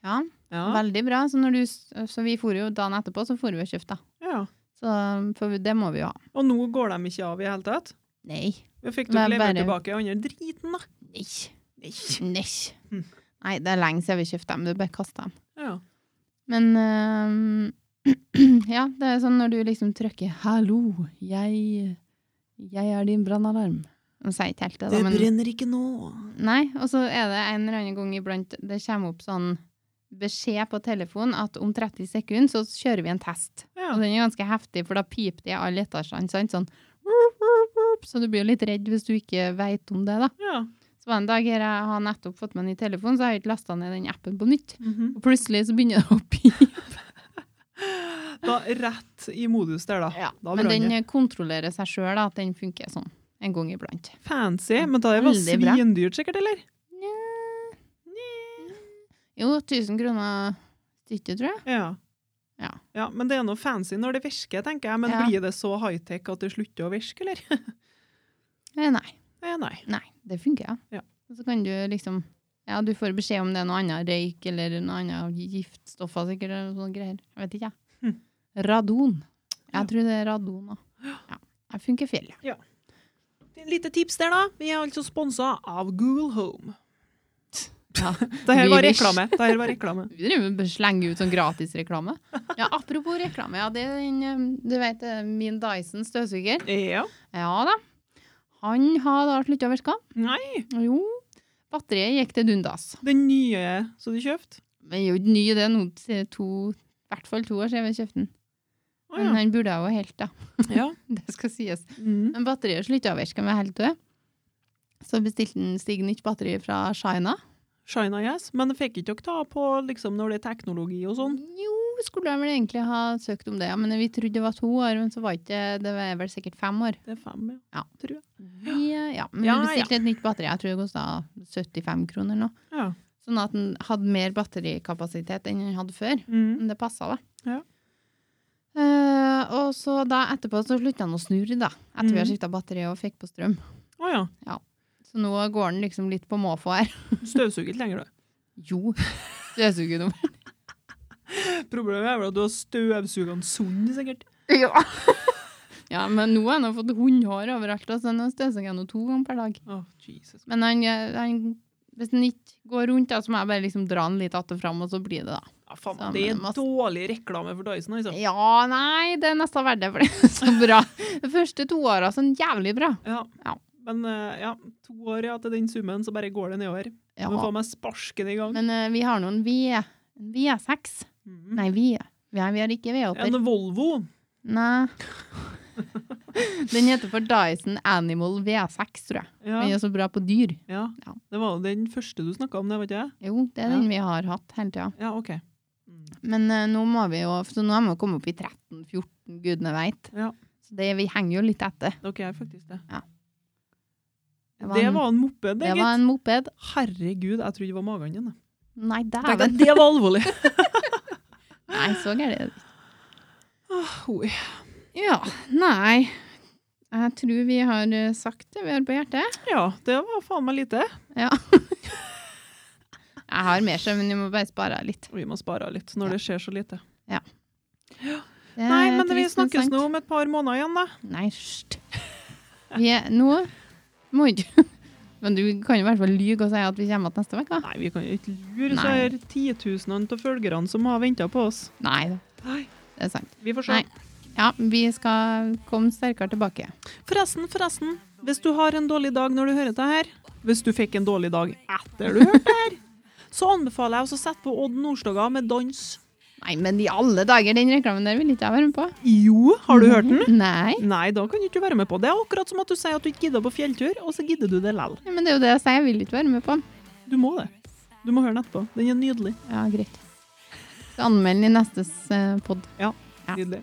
A: Ja,
B: Ja.
A: veldig bra. Så, når du, s- så vi for jo dagen etterpå, så for vi og kjøpte, da.
B: ja.
A: Så um, for det må vi jo ha.
B: Og nå går de ikke av i det hele tatt?
A: Nei.
B: Vi fikk
A: Men
B: dere levert
A: bare-
B: tilbake den andre driten, da.
A: Nei.
B: Nei.
A: Nei.
B: Hm.
A: Nei, det er lenge siden vi kjøpte dem. Du bare kaster dem.
B: Ja.
A: Men eh, [clears throat] ja, det er sånn når du liksom trykker 'hallo, jeg, jeg er din brannalarm'. De sier ikke helt det, da. men-
B: brenner ikke nå.
A: Nei, og så er det en eller annen gang iblant det kommer opp sånn beskjed på telefonen at om 30 sekunder så kjører vi en test.
B: Ja.
A: Og den er ganske heftig, for da piper det i alle etasjene, sant? Sånn, «Wup, wup, wup», så du blir jo litt redd hvis du ikke vet om det, da.
B: ja.
A: Så var det en dag her jeg har nettopp fått meg en ny telefon, så har jeg ikke lasta ned den appen på nytt.
B: Mhm.
A: Og plutselig så begynner det å pipe.
B: [laughs] Da rett i modus der, da. da
A: Men
B: brant
A: den eh,
B: det.
A: kontrollerer seg sjøl, at den funker sånn en gang iblant.
B: Fancy. Men da var det
A: Veldig bra.
B: svindyrt, sikkert, eller?
A: Nja. Jo, 1000 kroner stykket, tror jeg.
B: Ja.
A: Ja.
B: Men det er noe fancy når det virker, tenker jeg. Men
A: Ja.
B: blir det så high-tech at det slutter å virke, eller?
A: Eh, Nei.
B: Nei, nei.
A: Nei, det funker, ja.
B: Ja.
A: Og så kan du liksom Ja, du får beskjed om det er noe annet røyk eller noe annet giftstoffer sikkert, eller noe sånt greier. Jeg vet ikke, jeg.
B: Hm.
A: Radon. Jeg
B: Ja.
A: tror det er radon òg. Ja. Jeg funker fjell, ja.
B: Et lite tips der, da. Vi er altså sponsa av Google Home.
A: Ja.
B: [laughs] Det her var
A: Lyrisk.
B: reklame. Det her var
A: [laughs]
B: reklame.
A: Vi driver og slenger ut sånn gratisreklame. Ja, apropos reklame. Ja, det er den, eh, du vet eh, min Dyson støvsuger?
B: Ja.
A: Ja da. Han har da slutta å virke.
B: Nei.
A: Jo. Batteriet gikk til dundas.
B: Den nye som du kjøpte?
A: Men det er jo ikke ny, det er noe til to, i hvert fall to år siden vi kjøpte den.
B: Å,
A: Men han burde jo helt, da.
B: ja.
A: [laughs] Det skal sies.
B: ja. Mm.
A: Men batteriet slutta å virke med helt død. Så bestilte han Stig nytt batteri fra China.
B: Shina Yes. Men det fikk ikke dere ta på liksom, når det er teknologi og sånn?
A: Jo, skulle jeg vel egentlig ha søkt om det, ja. men vi trodde det var to år, men så var ikke det var vel sikkert fem år.
B: Det er fem, ja.
A: Ja.
B: Tror jeg.
A: Vi, eh, ja, men
B: Ja,
A: vi bestilte et nytt batteri, jeg tror det kosta 75 kroner nå.
B: Ja.
A: Sånn at den hadde mer batterikapasitet enn den hadde før.
B: Mm.
A: Men det passa, da.
B: Ja.
A: Eh, og så da etterpå så slutta han å snurre, da. Etter vi har
B: Mhm.
A: skifta batteri og fikk på strøm.
B: Å ja.
A: Så nå går den liksom litt på måfå her.
B: Støvsuger ikke lenger, du.
A: Jo, [laughs] støvsugerdom.
B: [laughs] Problemet er vel at du har støvsugeren sund, sikkert.
A: ja. [laughs] ja, men nå har han fått hundehår overalt, og så nå støvsuger jeg nå to ganger per dag.
B: Å, Jesus.
A: Men han, eh, han hvis han ikke går rundt, da, så må jeg bare liksom dra han litt att og fram, og så blir det da.
B: Ja, faen,
A: Sammen
B: det er
A: med masse-
B: dårlig reklame for Dyson, altså.
A: Ja, nei, det er nesten verdt det, for det er [laughs] så bra. De første to åra sånn jævlig bra.
B: Ja.
A: Ja.
B: Men eh, ja, to år ja, til den summen, så bare går det nedover.
A: Ja.
B: Må få meg sparken i gang.
A: Men eh, vi har noen V, en V6.
B: Mm.
A: Nei, vi. Vi har, vi har ikke V8-er.
B: En Volvo. [laughs]
A: Nei. Den heter for Dyson Animal V6, tror jeg.
B: Ja.
A: Den er så bra på dyr.
B: ja.
A: Ja.
B: Det var jo den første du snakka om, det, vet jeg.
A: Jo, det er den vi har hatt hele tida.
B: Ja, OK.
A: Men eh, nå må vi jo Så nå har vi jo kommet opp i 13-14, gudene veit.
B: Ja.
A: Så det, vi henger jo litt etter.
B: Dere er faktisk det.
A: Ja.
B: Det var en, moped, det,
A: Det var
B: gitt.
A: en moped.
B: Herregud, jeg trodde det var magen din. jeg.
A: Nei,
B: Tenkte
A: dæven.
B: jeg, det var alvorlig.
A: Nei, så gærent er det ikke.
B: [laughs] Oi.
A: Ja, nei. Jeg tror vi har eh, sagt det vi har på hjertet.
B: Ja, det var faen meg lite.
A: Jeg har mer, så- men vi må bare spare litt.
B: Vi må spare litt når
A: Ja. Eh,
B: det skjer så lite.
A: Det er
B: Nei, men vi
A: trist,
B: snakkes
A: sant?
B: nå om et par måneder igjen, da.
A: Nei, hysj. Vi er Nå må ikke Men du kan jo i hvert fall lyge og si at vi kommer igjen neste uke. da.
B: Nei, vi kan jo ikke lure så
A: Nei.
B: her titusenene av følgerne som har venta på oss.
A: Nei da,
B: Nei,
A: det er sant.
B: vi får se.
A: Nei. Ja, vi skal komme sterkere tilbake.
B: Forresten, forresten. Hvis du har en dårlig dag når du hører det her, hvis du fikk en dårlig dag etter du hørte det her, så anbefaler jeg også å sette på Odd Nordstoga med dans.
A: Nei, men i alle dager, den reklamen der vil ikke jeg være med på. Mhm.
B: Jo, har du hørt den?
A: Nei.
B: Nei, da kan du ikke være med på det. Det er akkurat som at du sier at du ikke gidder på fjelltur, og så gidder du det lell.
A: Nei, Men det er jo det jeg sier, jeg vil ikke være med på den.
B: Du må det. Du må høre den etterpå. Den er nydelig.
A: Ja, greit. Skal anmelde den i nestes eh, pod. Ja.
B: Nydelig.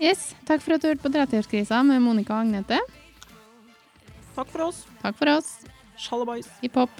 A: Yes, takk for at du hørte på 30-årskrisa med Monica og Agnete.
B: Takk for oss.
A: Takk for oss.
B: Sjalabais.
A: Hiphop.